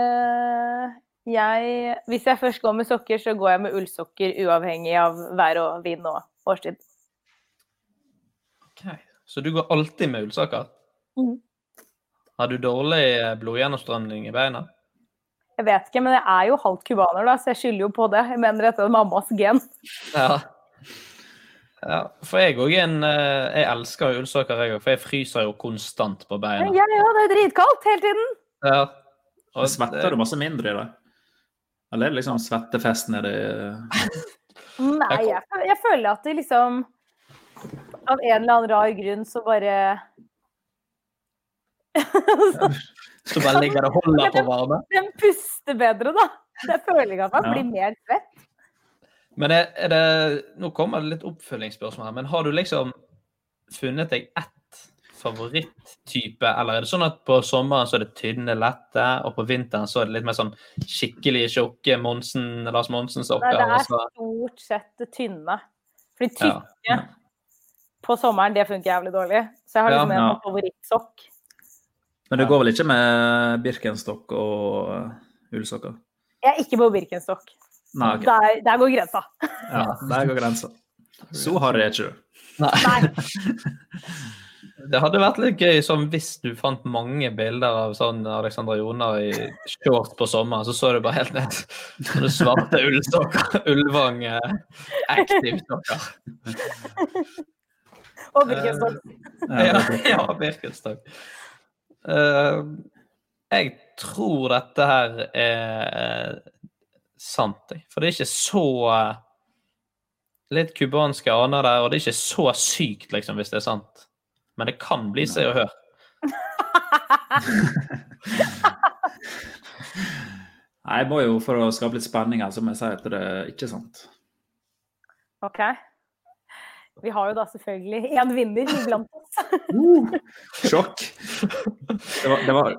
Speaker 3: eh, jeg, hvis jeg først går med sokker, så går jeg med ullsokker uavhengig av vær og vind og årstid.
Speaker 1: Ok. Så du går alltid med ullsokker?
Speaker 3: Mhm.
Speaker 1: Har du dårlig eh, blodgjennomstrømning i beina?
Speaker 3: Jeg vet ikke, men jeg er jo halvt cubaner, da, så jeg skylder jo på det. Jeg mener dette er mammas gen.
Speaker 1: Ja. ja. For jeg òg er en eh, Jeg elsker jo ullsokker, jeg òg, for jeg fryser jo konstant på
Speaker 3: Ja,
Speaker 1: beina.
Speaker 3: ja, det er jo dritkaldt hele tiden.
Speaker 1: Ja.
Speaker 2: Men Svetter du masse mindre i det? Eller er det liksom svettefest nedi
Speaker 3: Nei, jeg, fø- jeg føler at det liksom Av en eller annen rar grunn så bare så,
Speaker 1: Så bare ligger det og holder på varme?
Speaker 3: Den puster bedre, da. Jeg føler ikke at man
Speaker 2: Ja.
Speaker 3: blir mer svett.
Speaker 1: Men er, er det, nå kommer det litt oppfølgingsspørsmål her, men har du liksom funnet deg ett favoritttype, eller er det sånn at på sommeren så er det tynne, lette, og på vinteren så er det litt mer sånn skikkelig tjukke Monsen, Lars
Speaker 3: Nei,
Speaker 1: Monsen-sokker? og
Speaker 3: det er
Speaker 2: altså-
Speaker 1: så-
Speaker 3: stort sett det tynne. Fordi
Speaker 1: Ja.
Speaker 3: tykke på sommeren, det funker jævlig dårlig. Så jeg har liksom
Speaker 1: Ja,
Speaker 2: ja.
Speaker 3: en favorittsokk.
Speaker 2: Men du går vel ikke med Birkenstock og eh, ullsokker?
Speaker 3: Jeg er ikke på Birkenstock.
Speaker 2: Nei, ok.
Speaker 3: Der, der går grensa.
Speaker 2: Ja, der går grensa. Så harry er ikke du.
Speaker 1: Nei. Det hadde vært litt gøy sånn, hvis du fant mange bilder av sånn Alexandra Joner i shorts på sommeren, så så du bare helt ned sånne svarte ullsokker. Ulvang eh, active-sokker.
Speaker 2: Eh.
Speaker 3: Og Birkenstock.
Speaker 1: Ja, ja Birkenstock. Eh, jeg tror dette her er sant, jeg. For det er ikke så eh, Litt cubanske aner der, og det er ikke så sykt, liksom, hvis det er sant. Men det kan bli Se og Hør.
Speaker 2: Nei, jeg må jo, for å skape litt spenning her, så må jeg si at det er ikke sant.
Speaker 3: Ok. Vi har jo da selvfølgelig én vinner iblant oss.
Speaker 2: Sjokk! Det var, det var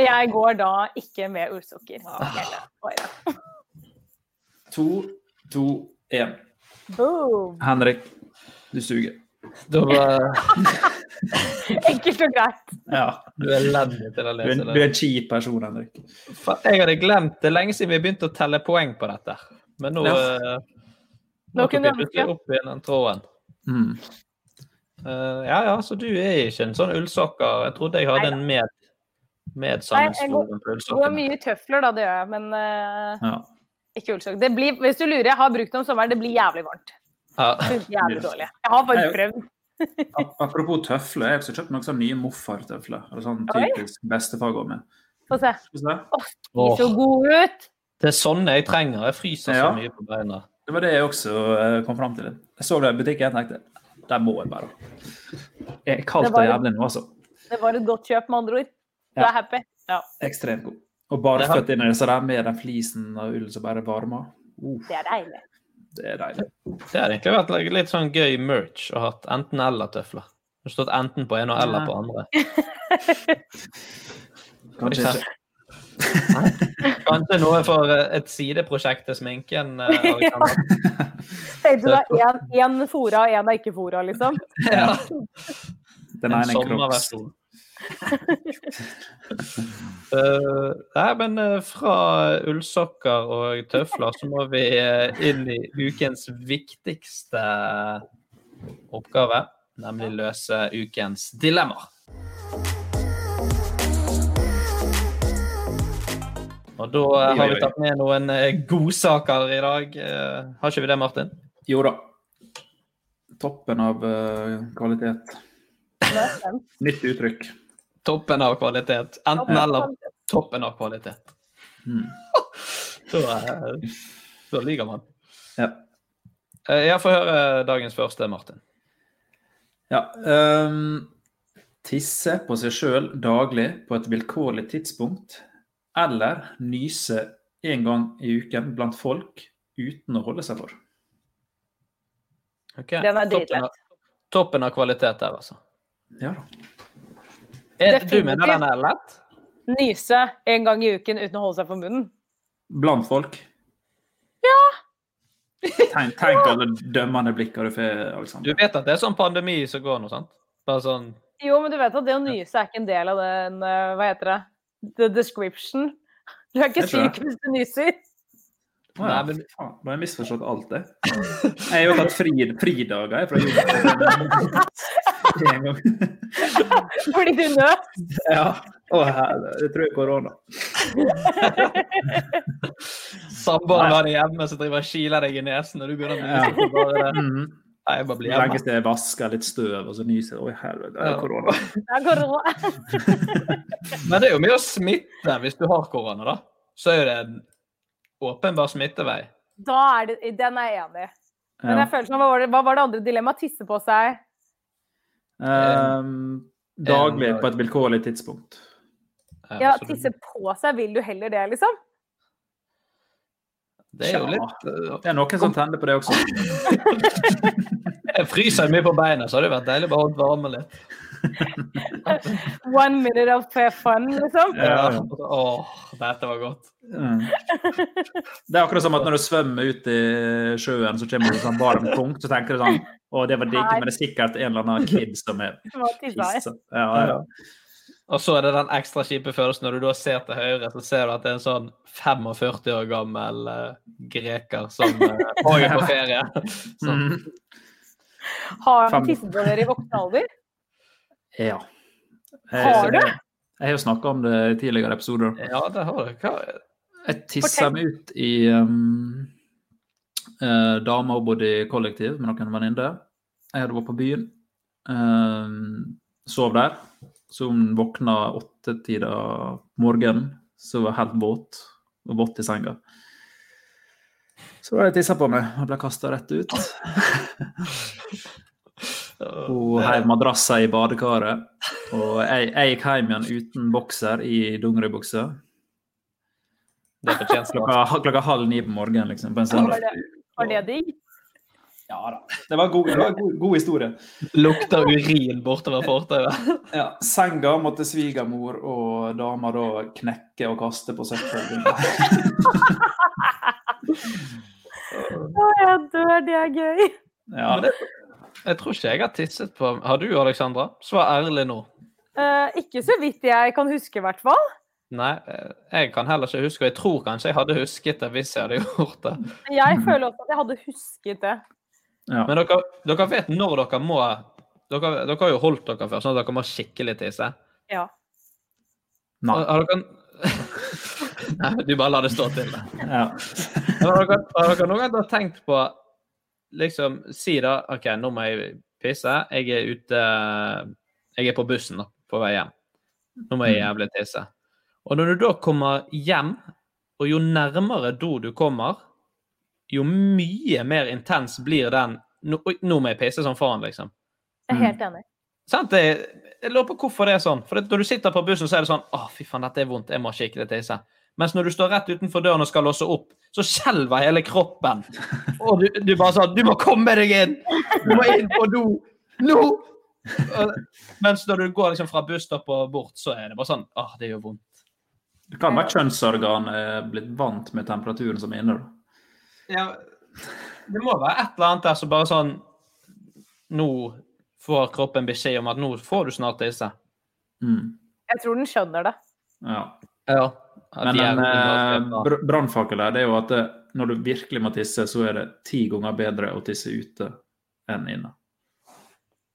Speaker 3: Jeg går da ikke med ullsokker.
Speaker 2: Ah.
Speaker 3: hele året.
Speaker 2: to, to, én.
Speaker 3: Boom!
Speaker 2: Henrik, du suger.
Speaker 1: Da var
Speaker 3: Enkelt og greit.
Speaker 2: Ja.
Speaker 1: Du er elendig til å
Speaker 2: Du er,
Speaker 1: lese
Speaker 2: du er
Speaker 1: det.
Speaker 2: en kjip person, Henrik.
Speaker 1: Faen, Jeg hadde glemt det lenge siden vi begynte å telle poeng på dette. Men nå
Speaker 2: Ja.
Speaker 1: eh,
Speaker 3: Nå
Speaker 1: Nå
Speaker 3: kunne
Speaker 1: kunne
Speaker 3: jeg
Speaker 1: vi
Speaker 3: ønske.
Speaker 1: opp igjen den tråden.
Speaker 2: Mm,
Speaker 1: Eh, ja, ja, så du er ikke en sånn ullsokker. Jeg trodde jeg hadde en med, med
Speaker 3: Nei, jeg går,
Speaker 1: sannhetsstolen på
Speaker 3: går
Speaker 1: ullsokkene.
Speaker 3: mye i tøfler, da, det gjør jeg, men eh,
Speaker 2: Ja.
Speaker 3: ikke ullsokker. Det blir- Hvis du lurer, jeg har brukt det om sommeren, det blir jævlig varmt. Det
Speaker 1: Ja.
Speaker 3: er Jævlig dårlig. Jeg har bare
Speaker 2: Nei,
Speaker 3: prøvd.
Speaker 2: Ap- Apropos tøfler, jeg har også kjøpt noen sånne nye morfartøfler. Eller sånn
Speaker 3: Oi.
Speaker 2: typisk bestefar går med.
Speaker 3: Få se.
Speaker 2: Skal vi se.
Speaker 3: De så
Speaker 1: Åh,
Speaker 3: gode ut.
Speaker 1: det er sånne jeg trenger. Jeg fryser så
Speaker 2: Ja.
Speaker 1: mye på beina.
Speaker 2: Det var det jeg også eh, kom fram til. Jeg så det i butikken og tenkte der må jeg bare. Jeg er kaldt
Speaker 3: Det var-
Speaker 2: og jævlig nå, altså.
Speaker 3: Det var et godt kjøp, med andre ord. Du
Speaker 2: Ja.
Speaker 3: er happy. Ja,
Speaker 2: Ekstremt god. Og barføtt inni disse der med den flisen og ullen som bare varmer. Uh,
Speaker 3: det er deilig.
Speaker 2: det er deilig.
Speaker 1: Det hadde egentlig vært litt- litt sånn gøy merch å ha hatt enten-eller-tøfler. Det har stått enten på ene og eller på andre.
Speaker 2: Kanskje ikke.
Speaker 1: Kanskje noe for eh, et sideprosjekt til sminken, eh, Alexander.
Speaker 3: Tenkte du da én fora og én er ikke fora, liksom?
Speaker 1: Ja.
Speaker 2: Den
Speaker 1: En sånn
Speaker 2: ene er kroks.
Speaker 1: sommerversjon. Eh, nei, men eh, fra ullsokker og tøfler så må vi eh, inn i ukens viktigste oppgave, nemlig løse ukens dilemmaer. Og da eh, har vi tatt med noen eh, godsaker i dag. Eh, har ikke vi det, Martin?
Speaker 2: Jo da. Toppen av eh, kvalitet.
Speaker 3: Nå er jeg spent.
Speaker 2: Nytt uttrykk.
Speaker 1: Toppen av kvalitet. Enten eller toppen av kvalitet.
Speaker 2: Mm.
Speaker 1: Så, eh, så lyver man.
Speaker 2: Ja.
Speaker 1: Eh, Jeg får høre dagens første, Martin.
Speaker 2: ja. ehm, tisse på seg sjøl daglig på et vilkårlig tidspunkt. Eller nyse én gang i uken blant folk uten å holde seg for.
Speaker 1: Ok,
Speaker 3: Den er
Speaker 1: toppen av-
Speaker 3: dritlett.
Speaker 1: Toppen av kvalitet der, altså.
Speaker 2: Ja da.
Speaker 1: Er, du
Speaker 3: Definitivt.
Speaker 1: mener den er lett?
Speaker 3: Nyse en gang i uken uten å holde seg for munnen.
Speaker 2: Blant folk. Ja! Tenk, tenk alle dømmende blikkene du får,
Speaker 1: Du
Speaker 2: Alexander.
Speaker 1: vet at det er sånn pandemi som går nå, sant? Bare sånn
Speaker 3: Jo, men du vet at det å nyse er ikke en del av den eh, Hva heter det? The description. Du er ikke
Speaker 2: Jeg tror
Speaker 3: syk hvis du nyser.
Speaker 2: Å ja,
Speaker 1: Nei, men-
Speaker 2: faen, Da har jeg misforstått alt, det. Jeg har jo hatt fri, fridager jeg, fra jobb. En gang.
Speaker 3: Fordi du nøt.
Speaker 2: Ja. Å, her, det tror jeg er korona.
Speaker 1: Samboeren har deg hjemme som driver og kiler deg i nesen, og du begynner å nyse på bare det.
Speaker 2: Mhm.
Speaker 1: Nei, jeg bare blir hjemme.
Speaker 2: Lenge til jeg vasker litt støv, og så nyser jeg. Oi, helvete, det
Speaker 1: Ja.
Speaker 2: er korona.
Speaker 3: Det er korona.
Speaker 1: Men det er jo mye å smitte hvis du har korona, da. Så er jo det en åpenbar smittevei.
Speaker 3: Da er det, den er jeg enig i. Men
Speaker 2: Ja.
Speaker 3: jeg føler som, hva, var det, hva var det andre dilemmaet? Tisse på seg?
Speaker 2: Ehm, daglig på et vilkårlig tidspunkt.
Speaker 1: Eh,
Speaker 3: Ja,
Speaker 1: så du-
Speaker 3: tisse på seg, vil du heller det, liksom?
Speaker 1: Det er jo
Speaker 2: Tja.
Speaker 1: litt eh,
Speaker 2: Det er noen som tenner på det også.
Speaker 1: Jeg fryser mye på beina, så det hadde vært deilig bare å holde varme litt.
Speaker 3: One minute of fun, liksom?
Speaker 2: Ja, ja.
Speaker 1: Åh, dette var godt.
Speaker 2: Mm. Det er akkurat som at når du svømmer ut i sjøen, så kommer du til en sånn varm punkt, så tenker du sånn Å, det var digg, men det er sikkert en eller annen kid som er
Speaker 3: Det var tissa i.
Speaker 2: pissa. Ja, ja.
Speaker 1: Og så er det den ekstra kjipe følelsen når du da ser til høyre, så ser du at det er en sånn 45 år gammel eh, greker som eh, også er på ferie. Sånn.
Speaker 2: Mm.
Speaker 3: Har
Speaker 2: Fem.
Speaker 3: du tisset på dere i voksen alder?
Speaker 2: Ja.
Speaker 3: Har du?
Speaker 2: Jeg, jeg har jo snakka om det i tidligere episoder.
Speaker 1: Ja, det har du. Hva
Speaker 2: Jeg tissa meg ut i um, eh, Dama og bodde i kollektiv med noen venninner. Jeg hadde vært på byen. ehm, sov der. Så hun våkna åttetida morgenen, så var jeg helt våt. Og våt i senga. Så var det jeg tissa på meg og ble kasta rett ut. Hun
Speaker 1: eh,
Speaker 2: heiv madrassa i badekaret. Og jeg, jeg gikk hjem igjen uten bokser i dongeribukse.
Speaker 1: Det fortjener
Speaker 2: klokka, klokka halv ni på morgenen, liksom. På en
Speaker 3: Var
Speaker 2: søndag.
Speaker 3: det, var det digg?
Speaker 2: Ja da. Det var en god, det var en god, god historie.
Speaker 1: Lukter urin bortover fortauet.
Speaker 2: Ja, senga måtte svigermor og dama da knekke og kaste på søppelbundet.
Speaker 3: Å, jeg dør, det er gøy.
Speaker 2: Ja.
Speaker 1: Men det, jeg tror ikke jeg har tisset på Har du, Alexandra? Svar ærlig nå.
Speaker 3: Eh, ikke så vidt jeg kan huske, i hvert fall.
Speaker 1: Nei, eh, jeg kan heller ikke huske, og jeg tror kanskje jeg hadde husket det hvis jeg hadde gjort det.
Speaker 3: Jeg føler også at jeg hadde husket det.
Speaker 2: Ja.
Speaker 1: Men dere, dere vet når dere må dere, dere har jo holdt dere før, sånn at dere må skikkelig tisse.
Speaker 3: Ja.
Speaker 2: Nei.
Speaker 1: Har- Har dere... Nei, du bare lar det stå til.
Speaker 2: Ja.
Speaker 1: Men Har dere, har dere noen gang da tenkt på liksom, Si da OK, nå må jeg pisse. Jeg er ute Jeg er på bussen da, på vei hjem. Nå må jeg jævlig tisse. Og når du da kommer hjem, og jo nærmere do du kommer, jo mye mer intens blir den Nå, oi, nå må jeg pisse som faen, liksom.
Speaker 3: Jeg er helt enig.
Speaker 1: Sant? Det, jeg lurer på hvorfor det er sånn. For det, når du sitter på bussen, så er det sånn Å, fy faen, dette er vondt. Jeg må skikkelig tisse. Mens når du står rett utenfor døren og skal låse opp, så skjelver hele kroppen. Og du, du bare sånn Du må komme deg inn! Du må inn på do! Nå! Og- Mens når du går liksom fra busstopp og bort, så er det bare sånn Åh, det gjør vondt.
Speaker 2: Det kan være kjønnsorganet er blitt vant med temperaturen som er inne. da.
Speaker 1: Ja, det må være et eller annet der som bare sånn Nå får kroppen beskjed om at nå får du snart tisse.
Speaker 2: Mm.
Speaker 3: Jeg tror den skjønner det.
Speaker 2: Ja.
Speaker 1: Ja.
Speaker 2: Men en eh, br- brannfakkel her, det er jo at eh, når du virkelig må tisse, så er det ti ganger bedre å tisse ute enn inne.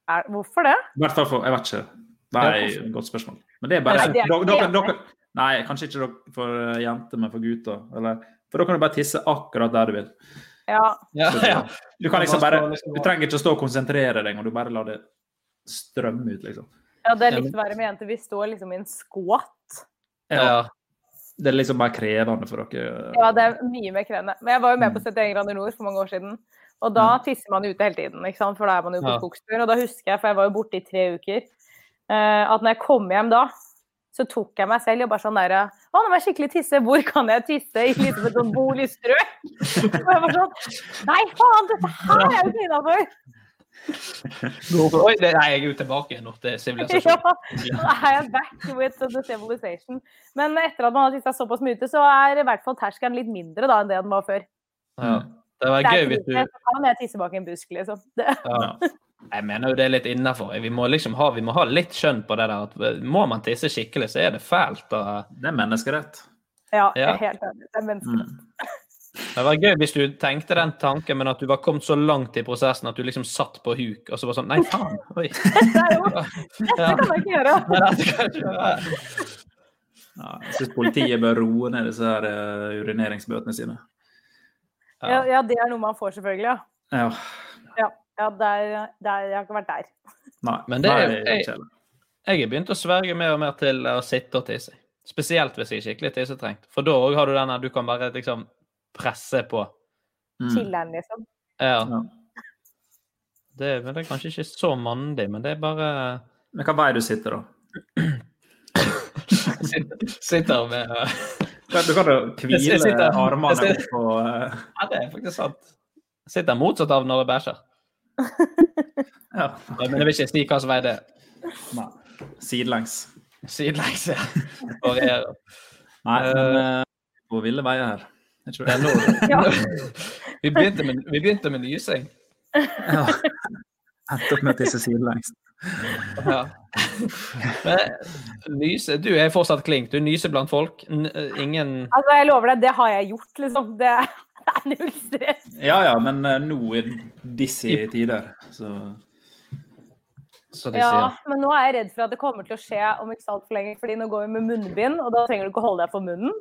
Speaker 3: Er, hvorfor det?
Speaker 2: I hvert fall for Jeg vet ikke. Det er
Speaker 1: Ja,
Speaker 2: et godt spørsmål. Men det er bare sånn,
Speaker 3: Nei, det er
Speaker 2: dere,
Speaker 3: ikke
Speaker 2: dere,
Speaker 3: enig.
Speaker 2: dere, Nei, kanskje ikke dere for eh, jenter, men for gutter. Eller, for da kan du bare tisse akkurat der du vil.
Speaker 3: Ja.
Speaker 1: Ja, ja.
Speaker 2: Du kan liksom bare Du trenger ikke å stå og konsentrere deg, og du bare lar det strømme ut, liksom.
Speaker 3: ja, det er likt å være med jenter. Vi står liksom i en skvatt.
Speaker 1: Ja.
Speaker 2: Det er liksom bare krevende for dere.
Speaker 3: Ja, det er mye mer krevende. Men jeg var jo med på 71 grader nord for mange år siden. Og da tisser man ute hele tiden, ikke sant? for da er man jo på
Speaker 1: Ja.
Speaker 3: skogstur. Og da husker jeg, for jeg var jo borte i tre uker, eh, at når jeg kom hjem da, så tok jeg meg selv og bare sånn derre Å, nå må jeg skikkelig tisse. Hvor kan jeg tisse? I liksom et sånt boligstrøk. Og jeg var sånn Nei, faen, dette her er jo ikke innafor!
Speaker 1: Oi, det, nei, jeg er jo tilbake igjen nå til
Speaker 3: Ja,
Speaker 1: sivilisasjon.
Speaker 3: nå er jeg back with the civilization. Men etter at man har tissa såpass mye ute, så er i hvert fall terskelen litt mindre da enn det den var før.
Speaker 1: Ja. Det var
Speaker 3: Det er
Speaker 1: gøy
Speaker 3: ikke
Speaker 1: hvis du
Speaker 3: mye, så kan jeg tisse bak en busk, liksom. Det.
Speaker 1: ja. Jeg mener jo det er litt innafor. Vi må liksom ha, vi må ha litt skjønn på det der at eh, må man tisse skikkelig, så er det fælt. Og...
Speaker 2: Det er menneskerett.
Speaker 3: Ja, jeg
Speaker 1: Ja.
Speaker 3: er helt enig. Det er mennesker.
Speaker 2: Mm.
Speaker 1: Det var gøy hvis du tenkte den tanken, men at du var kommet så langt i prosessen at du liksom satt på huk, og så var sånn Nei, faen! Oi.
Speaker 3: Det er jo,
Speaker 1: Ja.
Speaker 3: det kan jeg ikke gjøre.
Speaker 1: Men at det kanskje var-
Speaker 2: Ja, jeg syns politiet bør roe ned disse her eh, urineringsbøtene sine.
Speaker 3: Ja, ja, det er noe man får, selvfølgelig. Ja,
Speaker 2: Ja.
Speaker 3: ja, ja der, der, jeg har ikke vært der.
Speaker 2: Nei.
Speaker 1: Men det er-
Speaker 2: nei,
Speaker 1: jeg-
Speaker 2: kjedelig.
Speaker 1: Jeg har begynt å sverge mer og mer til å sitte og tisse. Spesielt hvis jeg er skikkelig tissetrengt. For da òg har du denne du kan bare liksom presse på.
Speaker 2: Mm.
Speaker 3: Chiller'n, liksom.
Speaker 1: Ja.
Speaker 2: Ja.
Speaker 1: Det, men det er kanskje ikke så mandig, men det er bare
Speaker 2: Men hva vei du sitter, da?
Speaker 1: Sitter med
Speaker 2: Du kan- Du kan jo
Speaker 1: Jeg- jeg
Speaker 2: hvile
Speaker 1: sitter-
Speaker 2: armene
Speaker 1: jeg
Speaker 2: opp og eh,
Speaker 1: Ja, det er faktisk sant. Sitter motsatt av når jeg bæsjer.
Speaker 2: ja.
Speaker 1: Nei, Men jeg vil ikke si hvilken vei det er.
Speaker 2: Nei. Sidelengs.
Speaker 1: Sidelengs. ja. Varierer.
Speaker 2: Nei, men eh, på ville veier her. Jeg tror
Speaker 1: Det er nå-
Speaker 3: Ja.
Speaker 1: Vi begynte med, vi begynte med nysing.
Speaker 2: Ja. Endte opp med å tisse sidelengs.
Speaker 1: Ja. Men nyse Du er fortsatt klink. Du nyser blant folk. N ingen
Speaker 3: Altså, jeg lover deg, det har jeg gjort, liksom. Det, det er null stress.
Speaker 2: Ja ja, men eh, nå i disse tider, så Så de
Speaker 3: Ja,
Speaker 2: sier.
Speaker 3: men nå er jeg redd for at det kommer til å skje om ikke så altfor lenge, fordi nå går vi med munnbind, og da trenger du ikke holde deg for munnen.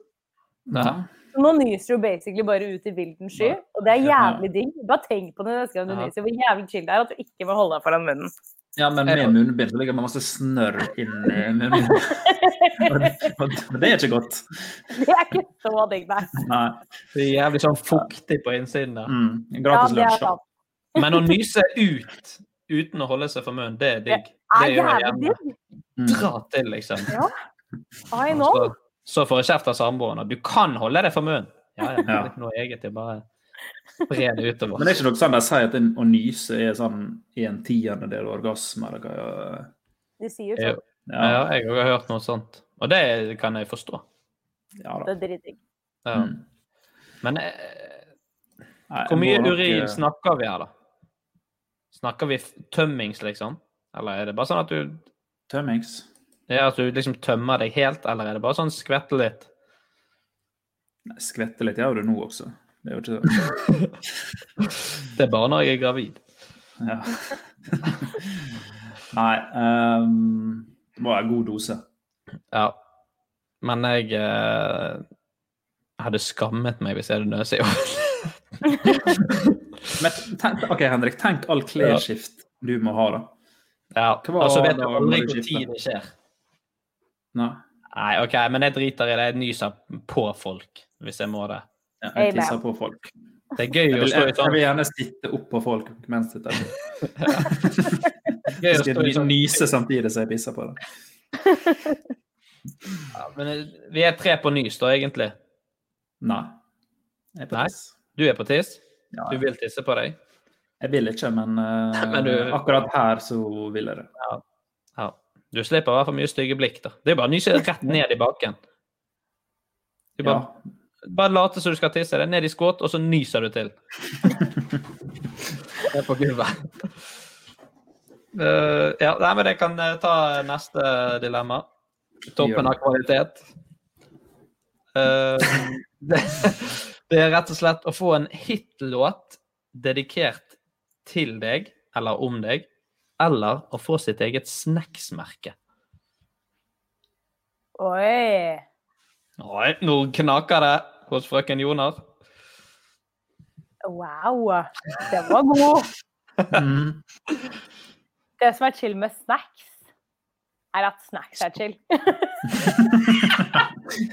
Speaker 2: Nei.
Speaker 3: Så nå nyser du basically bare ut i vilden sky, og det er jævlig digg. Bare tenk på det neste gang du
Speaker 2: Ja.
Speaker 3: nyser, hvor jævlig chill det er at du ikke må holde deg foran munnen.
Speaker 2: Ja, men med munnbind så ligger det masse snørr inni munnen. Men det er ikke godt.
Speaker 3: Det er ikke så digg, nei.
Speaker 2: Nei.
Speaker 1: Det er jævlig sånn fuktig på innsiden der.
Speaker 2: Mm.
Speaker 3: Ja, det er
Speaker 2: lunsj, da.
Speaker 3: sant.
Speaker 1: Men å nyse ut uten å holde seg for munnen, det er digg.
Speaker 3: Det
Speaker 1: Det
Speaker 3: er
Speaker 1: gjør jeg gjerne.
Speaker 3: jævlig digg.
Speaker 2: Mm.
Speaker 1: Dra til, liksom.
Speaker 3: Ja. I know.
Speaker 1: Så, så får jeg kjeft av samboeren. og Du kan holde deg for munnen! Ja, ja, det er ikke noe eget. Det er bare spre det utover.
Speaker 2: Men det er ikke noe sånn de sier at en- å nyse er sånn en tiendedel orgasme? Eller hva?
Speaker 3: De sier
Speaker 1: Jo.
Speaker 3: sånn.
Speaker 1: Ja, jeg har også hørt noe sånt. Og det kan jeg forstå.
Speaker 2: Ja
Speaker 3: Det
Speaker 2: da.
Speaker 3: er dritdigg.
Speaker 1: Ja.
Speaker 2: Mm.
Speaker 1: Men eh,
Speaker 2: Nei,
Speaker 1: hvor mye
Speaker 2: jeg må nok, eh,
Speaker 1: urin snakker vi her, da? Snakker vi f- tømmings, liksom? Eller er det bare sånn at du,
Speaker 2: Tømmings.
Speaker 1: ja, at du liksom tømmer deg helt, eller er det bare sånn skvetter litt?
Speaker 2: Nei, Skvetter litt gjør du nå også. Det er jo ikke
Speaker 1: Det er bare når jeg er gravid.
Speaker 2: ja. Nei. ehm, det var en god dose.
Speaker 1: Ja. Men jeg eh, hadde skammet meg hvis jeg hadde nøst i år.
Speaker 2: Men tenk, ok, Henrik, tenk all klesskift du må ha, da.
Speaker 1: Ja.
Speaker 2: Hva var
Speaker 1: Og så vet du
Speaker 2: det
Speaker 1: aldri
Speaker 2: når du
Speaker 1: hvor
Speaker 2: skifter?
Speaker 1: tid det skjer.
Speaker 2: Nei.
Speaker 1: Nei, OK, men jeg driter i det. Jeg nyser på folk hvis jeg må det.
Speaker 2: Ja, Jeg
Speaker 3: Amen.
Speaker 2: tisser på folk.
Speaker 1: Det er gøy
Speaker 2: Jeg
Speaker 1: å
Speaker 2: vil,
Speaker 1: stå
Speaker 2: jeg,
Speaker 1: i sånn
Speaker 2: vil gjerne sitte opp på folk mens jeg tisser.
Speaker 1: gøy å
Speaker 2: Jeg
Speaker 1: stå i
Speaker 2: skal
Speaker 1: sånn-
Speaker 2: nyse samtidig som jeg pisser på det.
Speaker 1: Ja, Men eh, vi er tre på nys, da, egentlig.
Speaker 2: Nei. Jeg er på
Speaker 1: Nei.
Speaker 2: tiss.
Speaker 1: Du er på tiss.
Speaker 2: Ja,
Speaker 1: Du vil tisse på deg.
Speaker 2: Jeg vil ikke, men, eh,
Speaker 1: Men du-
Speaker 2: akkurat her så vil jeg det.
Speaker 1: Ja. Du slipper i hvert fall mye stygge blikk. da. Det er bare å nyse rett ned i baken. Du bare,
Speaker 2: Ja.
Speaker 1: bare later som du skal tisse deg, ned i skvåt, og så nyser du til. Det er på gulvet. Eh, ja, nei, men jeg kan eh, ta neste dilemma. Toppen av kvalitet. Eh, det, det er rett og slett å få en hitlåt dedikert til deg, eller om deg, eller å få sitt eget snacksmerke.
Speaker 3: Oi.
Speaker 1: Oi, nå knaker det hos frøken Joner.
Speaker 3: Wow. Den var god.
Speaker 2: Mm.
Speaker 3: Det som er chill med snacks, er at snacks er chill.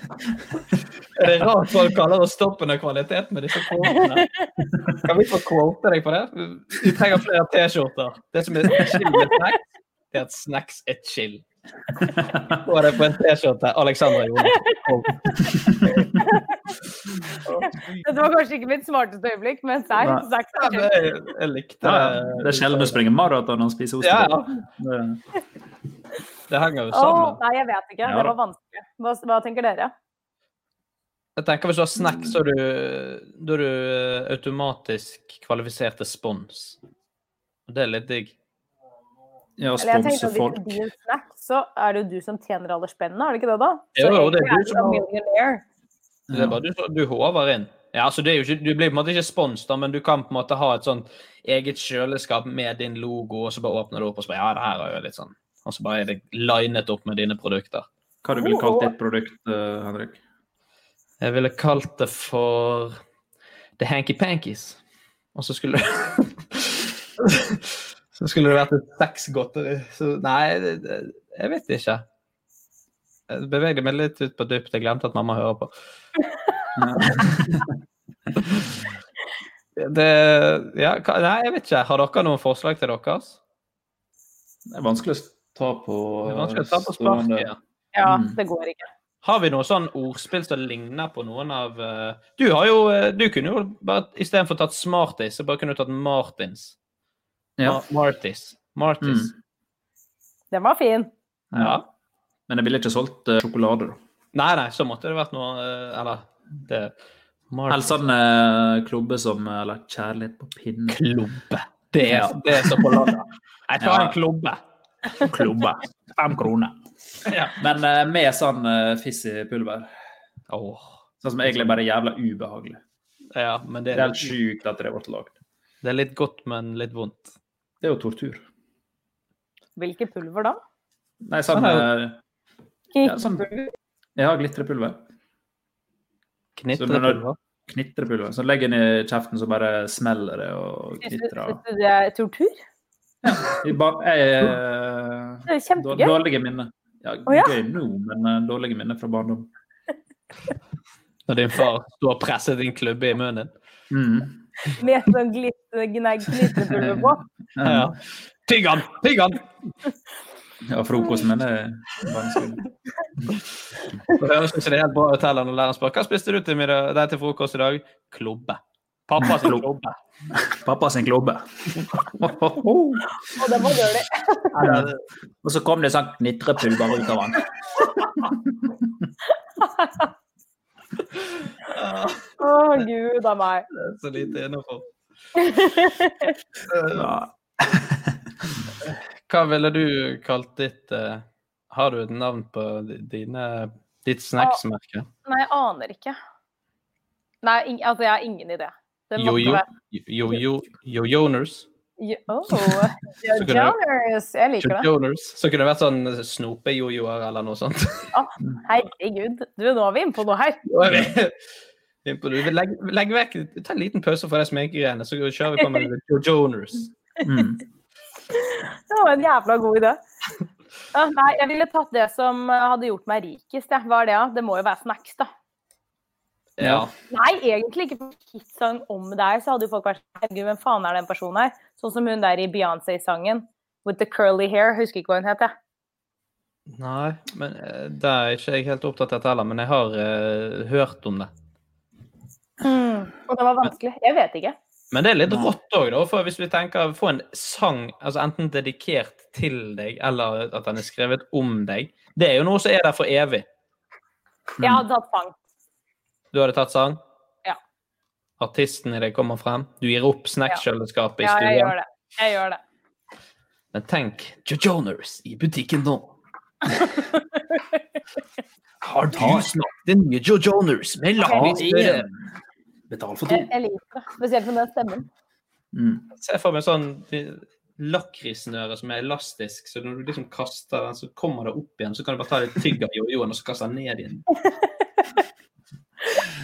Speaker 1: Er det rart folk kaller oss toppen av kvalitet med disse quotene? Kan vi få quote deg på det? Vi trenger flere T-skjorter. Det som er chill med snacks, det er at snacks er chill. Få det på en T-skjorte. Alexandra Jonas.
Speaker 3: Dette var kanskje ikke mitt smarteste øyeblikk, men
Speaker 2: Nei.
Speaker 3: snacks, snacks
Speaker 1: Ja,
Speaker 3: er
Speaker 1: men
Speaker 3: chill.
Speaker 1: Jeg, jeg likte
Speaker 2: Ja, det er sjelden du springer maraton og spiser ost.
Speaker 1: Ja, ja.
Speaker 2: Det-
Speaker 1: Det henger jo
Speaker 3: Åh,
Speaker 1: sammen.
Speaker 3: nei, jeg vet ikke.
Speaker 2: Ja
Speaker 3: Det
Speaker 2: da.
Speaker 3: var vanskelig. Hva, hva tenker dere?
Speaker 1: Jeg tenker Hvis du har snacks, så er du, da er du eh, automatisk kvalifisert til spons. Og Det er litt digg.
Speaker 2: Ja, å
Speaker 3: Eller jeg tenker
Speaker 2: sponse
Speaker 3: at Hvis
Speaker 2: folk.
Speaker 3: det blir en snack, så er det jo du som tjener alle spennene, er det ikke det, da?
Speaker 1: Jo, jo,
Speaker 3: egentlig
Speaker 1: det er du som
Speaker 3: en
Speaker 1: har-
Speaker 3: millionaire.
Speaker 1: Det er bare du, som- du håver inn. Ja, altså det er jo ikke, Du blir på en måte ikke spons, da, men du kan på en måte ha et sånn eget kjøleskap med din logo, og så bare åpner du opp og så bare Ja, det her er jo litt sånn. Og så bare er det linet opp med dine produkter.
Speaker 2: Hva du ville kalt ditt produkt, eh, Henrik?
Speaker 1: Jeg ville kalt det for The Hanky Pankies. Og så skulle Så skulle det vært et sexgodteri. Så nei, det- det- jeg vet ikke. Jeg bevegde meg litt ut på dypt. Jeg glemte at mamma hører på. Det, ja, hva- nei, jeg vet ikke. Har dere noen forslag til deres?
Speaker 2: Det er vanskelig å ta på eh,
Speaker 1: Det er vanskelig å ta på sparket. Ja.
Speaker 3: Ja,
Speaker 2: Mm.
Speaker 3: det går ikke.
Speaker 1: Har vi noe sånn ordspill som ligner på noen av eh, Du har jo eh, Du kunne jo bare istedenfor tatt Smarties, så bare kunne du tatt Martins.
Speaker 2: Ja.
Speaker 1: Mar- Martis. Martis.
Speaker 2: Mm.
Speaker 3: Den var fin.
Speaker 1: Ja.
Speaker 2: Men jeg ville ikke solgt eh, sjokolade, da.
Speaker 1: Nei, nei, så måtte det vært noe eh, Eller det,
Speaker 2: Eller
Speaker 1: Martis.
Speaker 2: sånn eh, klubbe som eh, eller kjærlighet på pinne.
Speaker 1: klubbe. Det er, det er så på landet. Jeg tar
Speaker 2: Ja.
Speaker 1: en klubbe.
Speaker 2: Klubbe. Fem kroner.
Speaker 1: Ja.
Speaker 2: Men eh, med sånn eh, fiss i pulver.
Speaker 1: Åh.
Speaker 2: Sånn som egentlig bare er jævla ubehagelig.
Speaker 1: Ja, men det
Speaker 2: Det er
Speaker 1: er,
Speaker 2: helt sjukt at det ble lagd.
Speaker 1: det er litt godt, men litt vondt.
Speaker 2: Det er jo tortur.
Speaker 3: Hvilke pulver da?
Speaker 2: Nei, sånn, eh, ja, sånn
Speaker 3: Kikkpulver?
Speaker 2: Jeg har glitrepulver.
Speaker 1: Knitrepulver?
Speaker 2: Knitrepulver. Så legger den i kjeften, så bare smeller det og
Speaker 3: Syns du-
Speaker 2: knitrer.
Speaker 3: syns du det er tortur?
Speaker 2: I ba- jeg-
Speaker 3: Det er
Speaker 2: Dår-
Speaker 3: kjempegøy.
Speaker 2: Dårlige minner. Ja,
Speaker 3: Å, ja.
Speaker 2: Gøy nå, men eh, dårlige minner fra barndom.
Speaker 1: Når din far står og presser din klubbe i munnen.
Speaker 2: Mm.
Speaker 3: Med sånn glitter, nei, glitrepulver på.
Speaker 1: Ja, ja. Tygg han! Tygg han!
Speaker 2: Ja, frokosten min er vanskelig.
Speaker 1: Det høres ikke det helt bra ut heller når læreren spør hva spiste du til, middag, nei, til frokost i dag. Klobbe. Pappa sin klobbe.
Speaker 2: Pappa sin klobbe.
Speaker 3: Og det var dårlig.
Speaker 2: Og så kom det sånn knitrepulver ut av han.
Speaker 3: Å, gud a meg.
Speaker 1: Det er Så lite innenfor. Hva ville du kalt ditt eh, Har du et navn på di- dine, ditt snacksmerke?
Speaker 3: Nei, jeg aner ikke. Nei, ing- altså, jeg har ingen idé. Det måtte
Speaker 1: Jojo?
Speaker 3: være-
Speaker 1: Jojo- Jojoners?
Speaker 3: Jo- Åh,
Speaker 1: kunne det-
Speaker 3: Jojoners. Jeg liker det.
Speaker 1: Jojoners. Så kunne det vært sånn snopejojoer eller noe sånt.
Speaker 3: Å, herregud. Du, nå er vi inne på noe her.
Speaker 1: Innpå du. Legg, legg vekk, ta en liten pause fra de sminkegreiene, så kjører vi på med Jojoners.
Speaker 2: Mm.
Speaker 3: Det var en jævla god idé. Å, nei, jeg ville tatt det som eh, hadde gjort meg rikest. Jeg. Hva er det, da? Det må jo være snacks, da.
Speaker 1: Ja.
Speaker 3: Nei, egentlig ikke. For Hitsang om deg, så hadde jo folk vært sånn, Herregud, hvem faen er den personen her? Sånn som hun der i Beyoncé-sangen. With the curly hair. Husker ikke hva hun het, jeg.
Speaker 1: Nei, men eh, det er ikke jeg helt opptatt av dette heller, men jeg har eh, hørt om det.
Speaker 3: Og det var vanskelig. Jeg vet ikke.
Speaker 1: Men det er litt rått òg, da. For hvis vi tenker få en sang altså enten dedikert til deg, eller at den er skrevet om deg, det er jo noe som er der for evig.
Speaker 3: Jeg hadde tatt sang.
Speaker 1: Du hadde tatt sang,
Speaker 3: Ja.
Speaker 1: artisten i deg kommer frem, du gir opp snackskjøleskapet i
Speaker 3: ja, jeg gjør
Speaker 1: stuen.
Speaker 3: det. Jeg gjør det.
Speaker 1: Men tenk Jojoners i butikken nå. Har du smakt den nye Jojoners med lakrisbrød?
Speaker 2: Betal for to.
Speaker 3: Jeg, jeg liker det. Spesielt med den stemmen.
Speaker 1: Se for meg sånn lakrissnøre som er elastisk, så når du liksom kaster den, så kommer det opp igjen. Så kan du bare ta litt tygg av jojoen, og så kaste den ned igjen.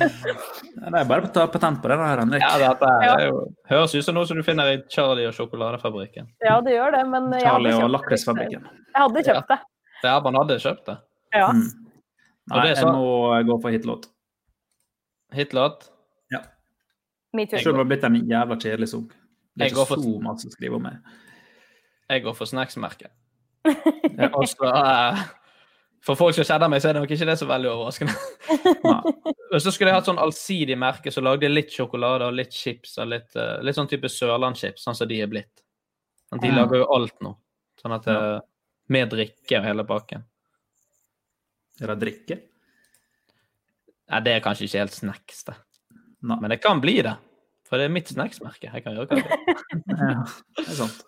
Speaker 2: Ja, Det er bare å ta patent på det der, Henrik.
Speaker 1: Ja, dette
Speaker 3: Ja.
Speaker 1: er jo, høres ut som noe som du finner i Charlie og sjokoladefabrikken.
Speaker 3: Ja, det gjør det, men jeg hadde
Speaker 2: Charlie og
Speaker 3: kjøpt det.
Speaker 2: Lakrisfabrikken.
Speaker 3: Jeg hadde kjøpt det.
Speaker 1: Der man hadde kjøpt det.
Speaker 3: Ja.
Speaker 2: Mm. Nei,
Speaker 1: Og det er
Speaker 2: jeg
Speaker 1: så-
Speaker 2: må gå for hitlåt.
Speaker 1: Hitlåt.
Speaker 2: Ja.
Speaker 3: Me too.
Speaker 2: Selv om det har blitt en jævla kjedelig sang. Det
Speaker 1: Jeg
Speaker 2: er
Speaker 1: går
Speaker 2: ikke
Speaker 1: for-
Speaker 2: så masse å skrive om meg.
Speaker 1: Jeg går for snacksmerket. Og så eh, For folk som kjenner meg, så er det nok ikke det så veldig overraskende.
Speaker 2: Nei.
Speaker 1: Men så skulle jeg hatt sånn allsidig merke som lagde litt sjokolade og litt chips og litt, eh, litt sånn type sørlandschips, sånn som de er blitt. Men De
Speaker 2: Ja.
Speaker 1: lager jo alt nå. Sånn at eh, Med drikke og hele pakken.
Speaker 2: Er det drikke?
Speaker 1: Nei, det er kanskje ikke helt snacks, det.
Speaker 2: Nei.
Speaker 1: Men det kan bli det. For det er mitt snacksmerke. Jeg kan gjøre hva jeg vil.
Speaker 2: Ja, det er sant.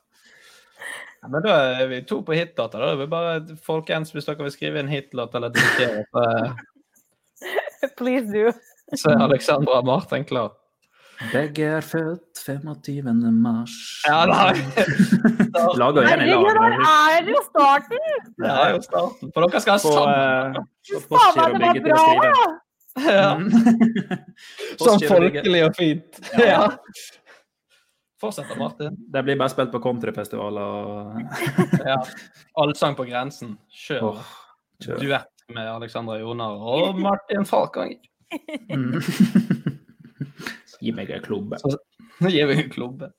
Speaker 1: Ja, Men da er vi to på hitdata. Da er vi bare Folkens, hvis dere vil skrive en hitlåt eller dirigere, så, eh,
Speaker 3: Please do.
Speaker 1: så er Alexandra og Martin klar.
Speaker 2: Begge er født 25. mars.
Speaker 1: Ja, nei.
Speaker 2: Lager en i
Speaker 3: Herregud,
Speaker 2: lag.
Speaker 3: her er jo starten!
Speaker 1: Det er jo starten. For dere skal ha
Speaker 2: På,
Speaker 1: sammen.
Speaker 2: eh, på
Speaker 3: Faen meg,
Speaker 2: Postgiro
Speaker 3: det var
Speaker 2: Bygge til å
Speaker 3: bra!
Speaker 2: skrive.
Speaker 3: da!
Speaker 1: Ja. Sånn
Speaker 2: Postgiro Bygge.
Speaker 1: folkelig og fint.
Speaker 2: Ja.
Speaker 1: Ja. Fortsett da, Martin.
Speaker 2: Det blir bare spilt på countryfestivaler og
Speaker 1: Ja. Allsang på grensen. Kjør.
Speaker 2: Åh, kjør.
Speaker 1: Duett med Alexandra Joner og Martin Falkanger.
Speaker 2: Mm. Gi meg en klubbe.
Speaker 1: Så- Nå gir vi en klubbe.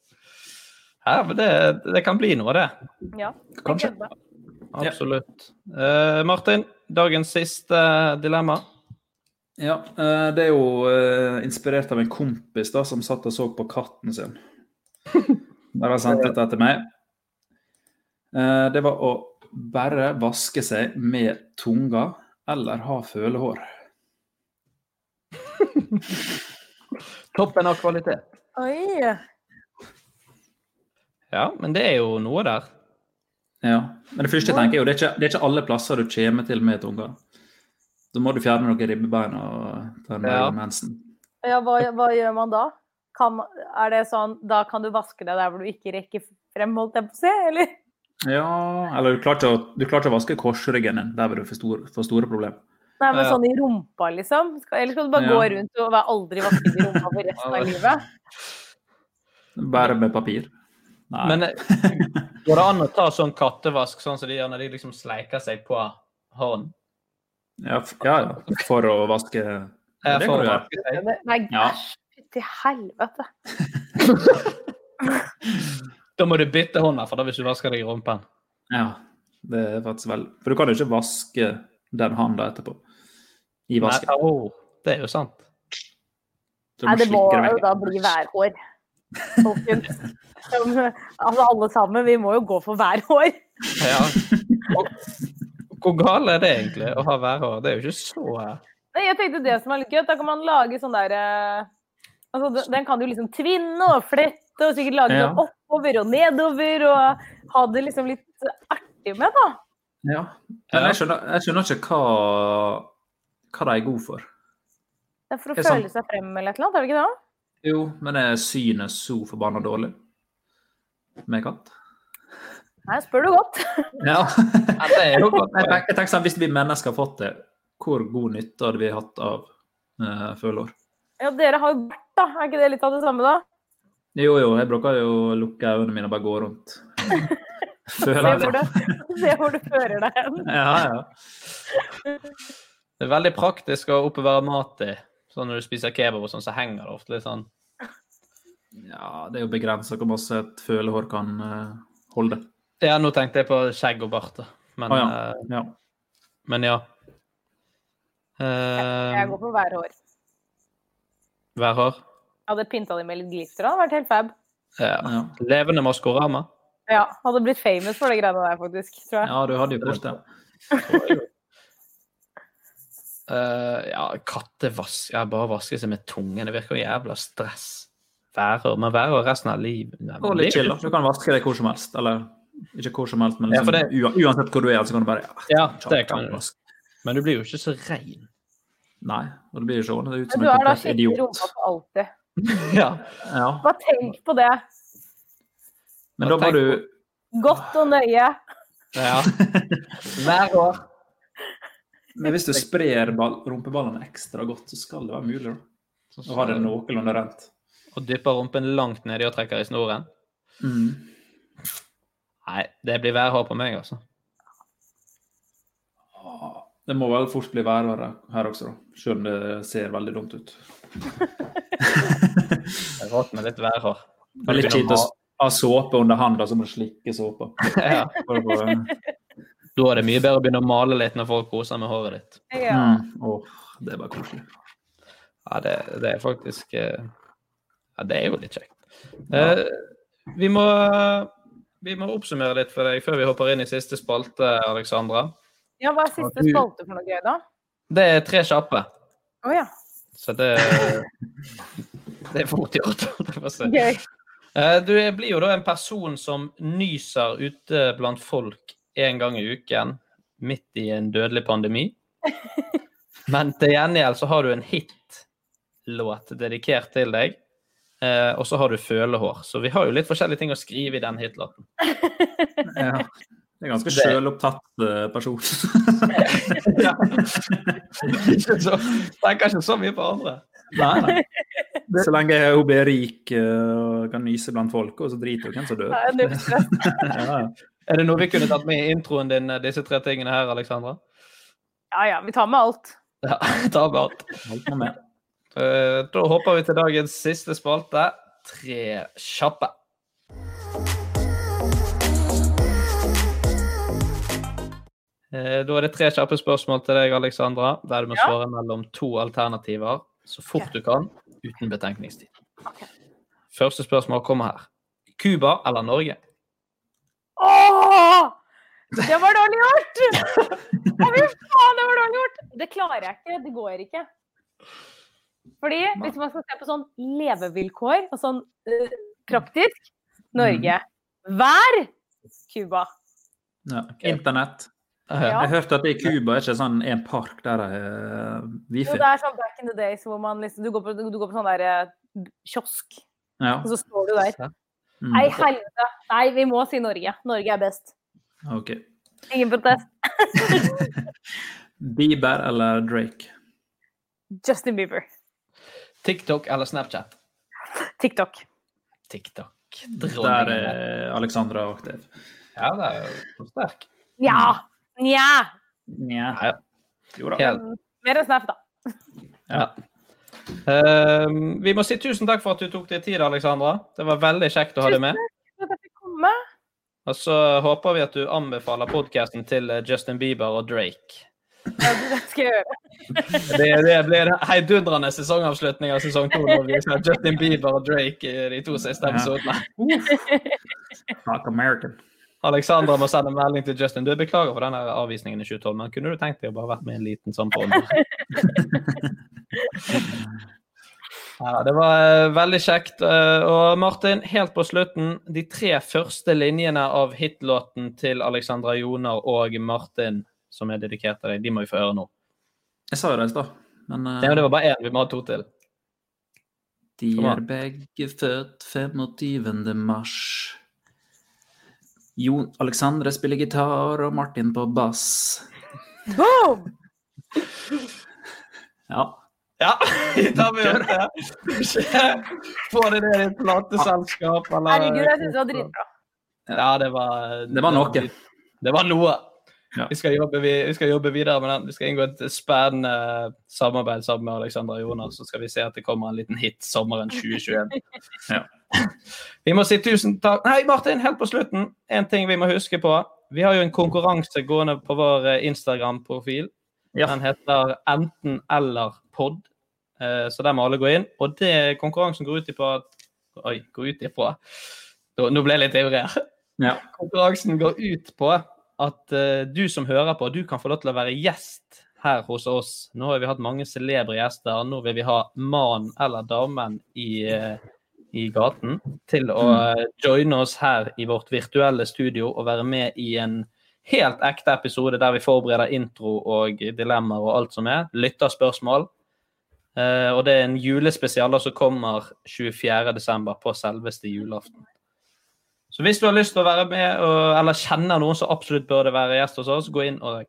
Speaker 1: Ja, men det, det kan bli noe, det.
Speaker 3: Ja,
Speaker 2: Kanskje.
Speaker 3: jeg gleder meg.
Speaker 1: Absolutt. Eh, Martin, dagens siste dilemma.
Speaker 2: Ja, eh, det er jo eh, inspirert av en kompis da, som satt og så på katten sin. Bare sendte dette til meg. Eh, Det var å bare vaske seg med tunga eller ha følehår.
Speaker 1: Toppen av kvalitet.
Speaker 3: Oi.
Speaker 1: Ja, men det er jo noe der.
Speaker 2: Ja, Men det første jeg tenker er jo, det er ikke, det er ikke alle plasser du kommer til med tunga. Da må du fjerne noen ribbebein og ta en
Speaker 1: Ja.
Speaker 2: ja. mensen.
Speaker 3: Ja, hva, hva gjør man da? Kan, er det sånn, da kan du vaske deg der hvor du ikke rekker frem, holdt jeg på å si? Eller?
Speaker 2: Ja Eller du klarte å, du klarte å vaske korsryggen din. Der var du for, stor, for store problem.
Speaker 3: Nei, men
Speaker 2: Ja.
Speaker 3: sånn i rumpa, liksom? Skal, eller skal du bare
Speaker 2: Ja.
Speaker 3: gå rundt og være aldri vasket i rumpa for resten av livet?
Speaker 2: Bare med papir. Nei.
Speaker 1: Men eh, går det an å ta sånn kattevask, sånn som de gjør når de liksom sleiker seg på hånden?
Speaker 2: Ja, f- ja, ja. For å vaske
Speaker 1: Eh,
Speaker 2: Det
Speaker 1: for
Speaker 2: kan du
Speaker 1: å
Speaker 2: gjøre.
Speaker 3: Nei,
Speaker 2: Ja.
Speaker 3: æsj, fytti helvete.
Speaker 1: Da må du bytte hånd, for da hvis du vasker deg i rumpen.
Speaker 2: Ja, det er faktisk vel For du kan jo ikke vaske den handa etterpå. I vasken.
Speaker 1: Nei, åh, det er jo sant.
Speaker 2: Så du
Speaker 3: Nei, det må
Speaker 2: slikke
Speaker 3: jo
Speaker 2: vekk.
Speaker 3: da bli værhår. Folkens. Som, altså, alle sammen, vi må jo gå for værhår.
Speaker 1: Ja. Og- Hvor galt er det egentlig å ha værhår? Det er jo ikke så
Speaker 3: Nei, jeg tenkte det som er litt gøy, at da kan man lage sånn der eh, altså, den- Den kan du liksom tvinne og flette og sikkert lage
Speaker 2: Ja.
Speaker 3: den oppover og nedover og ha det liksom litt artig med, da.
Speaker 2: Ja. Men jeg skjønner, jeg skjønner ikke hva, hva de er gode for.
Speaker 3: Det er for å
Speaker 2: Det er sant.
Speaker 3: føle seg frem eller et eller annet, er det ikke det?
Speaker 2: Jo, men er synet så forbanna dårlig med katt?
Speaker 3: Nei, spør du godt.
Speaker 2: Ja.
Speaker 1: det er jo godt.
Speaker 2: Jeg tenker, jeg tenker sånn, Hvis vi mennesker har fått det, hvor god nytte hadde vi hatt av uh, følehår?
Speaker 3: Ja, dere har jo bart, da. Er ikke det litt av det samme, da?
Speaker 2: Jo, jo, jeg bruker jo å lukke øynene mine og bare gå rundt.
Speaker 3: Se
Speaker 2: Føler
Speaker 3: hvor,
Speaker 2: det.
Speaker 3: du, se hvor du fører deg hen.
Speaker 2: Ja, ja.
Speaker 1: Det er veldig praktisk å oppbevare mat i. Sånn når du spiser kebab og sånn, så henger det ofte litt sånn.
Speaker 2: Ja, det er jo begrensa hvor masse et følehår kan eh, holde.
Speaker 1: Ja, nå tenkte jeg på skjegg og bart, da. Men
Speaker 2: Å,
Speaker 1: eh,
Speaker 2: ja. ja.
Speaker 1: Men ja.
Speaker 2: Um.
Speaker 3: Jeg
Speaker 1: Uh,
Speaker 3: går for værhår.
Speaker 1: vær hard.
Speaker 3: Jeg hadde pynta dem med litt glitter, det hadde vært helt fab.
Speaker 1: Ja. Levende Maskorama.
Speaker 3: Ja, hadde blitt famous for det greiene der, faktisk. Tror jeg.
Speaker 2: ja, du hadde jo fått det.
Speaker 1: Eh, ja, kattevask Ja, bare vaske seg med tungen. Det virker jo jævla stress. Værhår. Men værhår resten av livet Nei, men
Speaker 2: Og litt
Speaker 1: det er
Speaker 2: chill.
Speaker 1: jo-
Speaker 2: da. Du kan vaske deg hvor som helst. Eller ikke hvor som helst, men
Speaker 1: Ja, for
Speaker 2: liksom,
Speaker 1: det-
Speaker 2: ua- uansett hvor du er, så kan du bare ja,
Speaker 1: Ja,
Speaker 2: ta-
Speaker 1: det
Speaker 2: ta
Speaker 1: kan
Speaker 2: en
Speaker 1: du.
Speaker 2: vask.
Speaker 1: Men du blir jo ikke så rein.
Speaker 2: Nei, og det blir jo sånn. Det er ut
Speaker 3: Men
Speaker 2: som
Speaker 3: du
Speaker 2: en
Speaker 3: er da
Speaker 2: komplett
Speaker 3: skikkelig
Speaker 2: idiot.
Speaker 3: rumpa for alltid.
Speaker 1: ja.
Speaker 2: Ja.
Speaker 3: Bare tenk på det.
Speaker 2: Men da må du
Speaker 3: Godt og nøye.
Speaker 1: ja. Hver år.
Speaker 2: Men hvis du sprer ball, rumpeballene ekstra godt, så skal det være mulig da. å ha det noenlunde rent.
Speaker 1: Og dypper rumpen langt nedi og trekker i snoren.
Speaker 2: Mm.
Speaker 1: Nei, det blir værhår på meg, altså.
Speaker 2: Det må vel fort bli værere her også, da. Selv om det ser veldig dumt ut.
Speaker 1: Det er Rått med litt værhår.
Speaker 2: Det er litt kjipt å s- ha såpe under hånda, så må du slikke såpa.
Speaker 1: Ja.
Speaker 2: For å få-
Speaker 1: Da er det mye bedre å begynne å male litt når folk koser med håret ditt.
Speaker 3: Ja.
Speaker 2: Mm. Åh, det er bare koselig.
Speaker 1: Ja, det, det er faktisk eh, Ja, det er jo litt kjekt. Eh, vi, må, vi må oppsummere litt for deg før vi hopper inn i siste spalte, Alexandra.
Speaker 3: ja, hva er siste spalte for noe gøy, da?
Speaker 1: Det er tre kjappe,
Speaker 3: Å ja.
Speaker 1: så det Det er fort gjort. holdt jeg på å si.
Speaker 3: Gøy.
Speaker 1: Eh, Du er- blir jo da en person som nyser ute blant folk en gang i uken midt i en dødelig pandemi. Men til gjengjeld så har du en hitlåt dedikert til deg, eh, og så har du følehår. Så vi har jo litt forskjellige ting å skrive i den hitlåten.
Speaker 2: Ja. Det er ganske
Speaker 1: Det-
Speaker 2: sjølopptatt eh, person.
Speaker 1: Ikke så- Tenker ikke så mye på andre.
Speaker 2: Nei, nei. Så lenge hun blir rik eh, og kan nyse blant folk, og så driter hun hvem som dør.
Speaker 3: Det er null stress.
Speaker 2: Ja, ja.
Speaker 1: Er det noe vi kunne tatt med i introen din, eh, disse tre tingene her, Alexandra?
Speaker 3: Ja ja, vi tar med alt.
Speaker 1: Ja, ta med alt.
Speaker 2: Alt må med.
Speaker 1: Eh, Da hopper vi til dagens siste spalte, Tre kjappe. Eh, Da er det tre kjappe spørsmål til deg, Alexandra, der du må
Speaker 3: Ja.
Speaker 1: svare mellom to alternativer så fort du kan, uten betenkningstid. Første spørsmål kommer her. Cuba eller Norge?
Speaker 3: Åh! Det var dårlig gjort! Å, fy faen, det var dårlig gjort! Det klarer jeg ikke. Det går ikke. Fordi hvis man skal se på sånn levevilkår og sånn eh, praktisk
Speaker 2: Mm.
Speaker 3: Norge. Vær Cuba.
Speaker 2: Ja. Internett.
Speaker 3: Ja.
Speaker 2: Jeg hørte at det i Cuba er ikke sånn en park der det er eh,
Speaker 3: Jo,
Speaker 2: wifi.
Speaker 3: det er sånn back in the days hvor man liksom Du går på, du går på sånn der eh, kiosk,
Speaker 2: Ja.
Speaker 3: og så står du der.
Speaker 1: Ja.
Speaker 2: Mm.
Speaker 3: Nei, helvete. Nei, vi må si Norge. Norge er best.
Speaker 2: OK.
Speaker 3: Ingen protest.
Speaker 2: Bieber eller Drake?
Speaker 3: Justin Bieber.
Speaker 1: TikTok eller Snapchat?
Speaker 3: TikTok.
Speaker 1: TikTok.
Speaker 2: Der er Alexandra aktiv.
Speaker 1: Ja, det er jo sterk.
Speaker 3: Ja! Nja.
Speaker 2: Nja. Jo da.
Speaker 1: Helt.
Speaker 3: Mer enn Snap, da.
Speaker 1: Ja. Ehm, vi må si tusen takk for at du tok deg tid, Alexandra. Det var veldig kjekt å ha deg med.
Speaker 3: For at jeg fikk komme.
Speaker 1: Og så håper vi at du anbefaler podkasten til eh, Justin Bieber og Drake.
Speaker 3: Ja, det skal jeg gjøre.
Speaker 1: Det, det blir en heidundrende sesongavslutning av sesong to. når vi ser Justin Bieber og Drake i de to siste episodene.
Speaker 2: Not American.
Speaker 1: Alexandra må sende melding til Justin. Du, jeg beklager for denne avvisningen i 2012, men kunne du tenkt deg å bare vært med i en liten sånn på Ja, det var eh, veldig kjekt. Eh, Og Martin, helt på slutten, de tre første linjene av hitlåten til Alexandra Joner og Martin, som er dedikert til deg, de må vi få høre nå.
Speaker 2: Jeg sa jo det i stad, men eh,
Speaker 1: Nei, men det var bare én. Vi må ha to til.
Speaker 2: De
Speaker 1: Kom
Speaker 2: er
Speaker 1: an.
Speaker 2: begge født 25. mars. Jon Alexandre spiller gitar, og Martin på bass.
Speaker 3: Boom!
Speaker 2: Ja.
Speaker 1: Ja, da må vi gjøre det. Få det ned i et plateselskap, eller
Speaker 3: Herregud, jeg syns det var dritbra.
Speaker 1: Ja, det var
Speaker 2: Det var noe.
Speaker 1: Det var noe.
Speaker 2: Ja.
Speaker 1: Vi, skal jobbe, vi, vi skal jobbe videre med den. Vi skal inngå et spennende eh, samarbeid sammen med Alexandra Jonas, så skal vi se at det kommer en liten hit sommeren 2021.
Speaker 2: Ja.
Speaker 1: Vi må si tusen takk Nei, Martin, helt på slutten, en ting vi må huske på. Vi har jo en konkurranse gående på vår eh, Instagram-profil.
Speaker 2: Ja.
Speaker 1: Den heter Enten eller pod, Eh, så der må alle gå inn. Og det konkurransen går ut ifra at Oi, går ut ifra Nå nå ble jeg litt ivrig her.
Speaker 2: ja.
Speaker 1: Konkurransen går ut på at eh, du som hører på, du kan få lov til å være gjest her hos oss. Nå har vi hatt mange celebre gjester. Nå vil vi ha mannen eller damen i, eh, i gaten til å eh, joine oss her i vårt virtuelle studio og være med i en helt ekte episode der vi forbereder intro og dilemmaer og alt som er. Lytterspørsmål. Eh, og det er en julespesial da som kommer 24.12. på selveste julaften. Så hvis du har lyst til å være med, og, eller kjenner noen som absolutt burde være gjest hos oss, gå inn og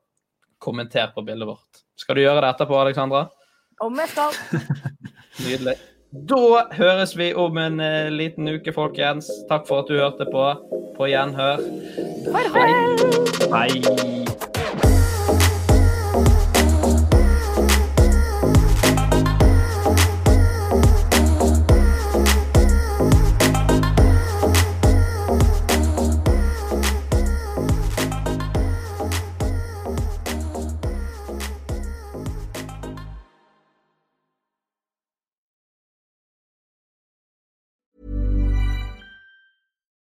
Speaker 1: kommenter på bildet vårt. Skal du gjøre det etterpå, Alexandra?
Speaker 3: Om jeg skal.
Speaker 1: Nydelig. Da høres vi om en eh, liten uke, folkens. Takk for at du hørte på. På gjenhør.
Speaker 3: Farvel!
Speaker 2: Hei.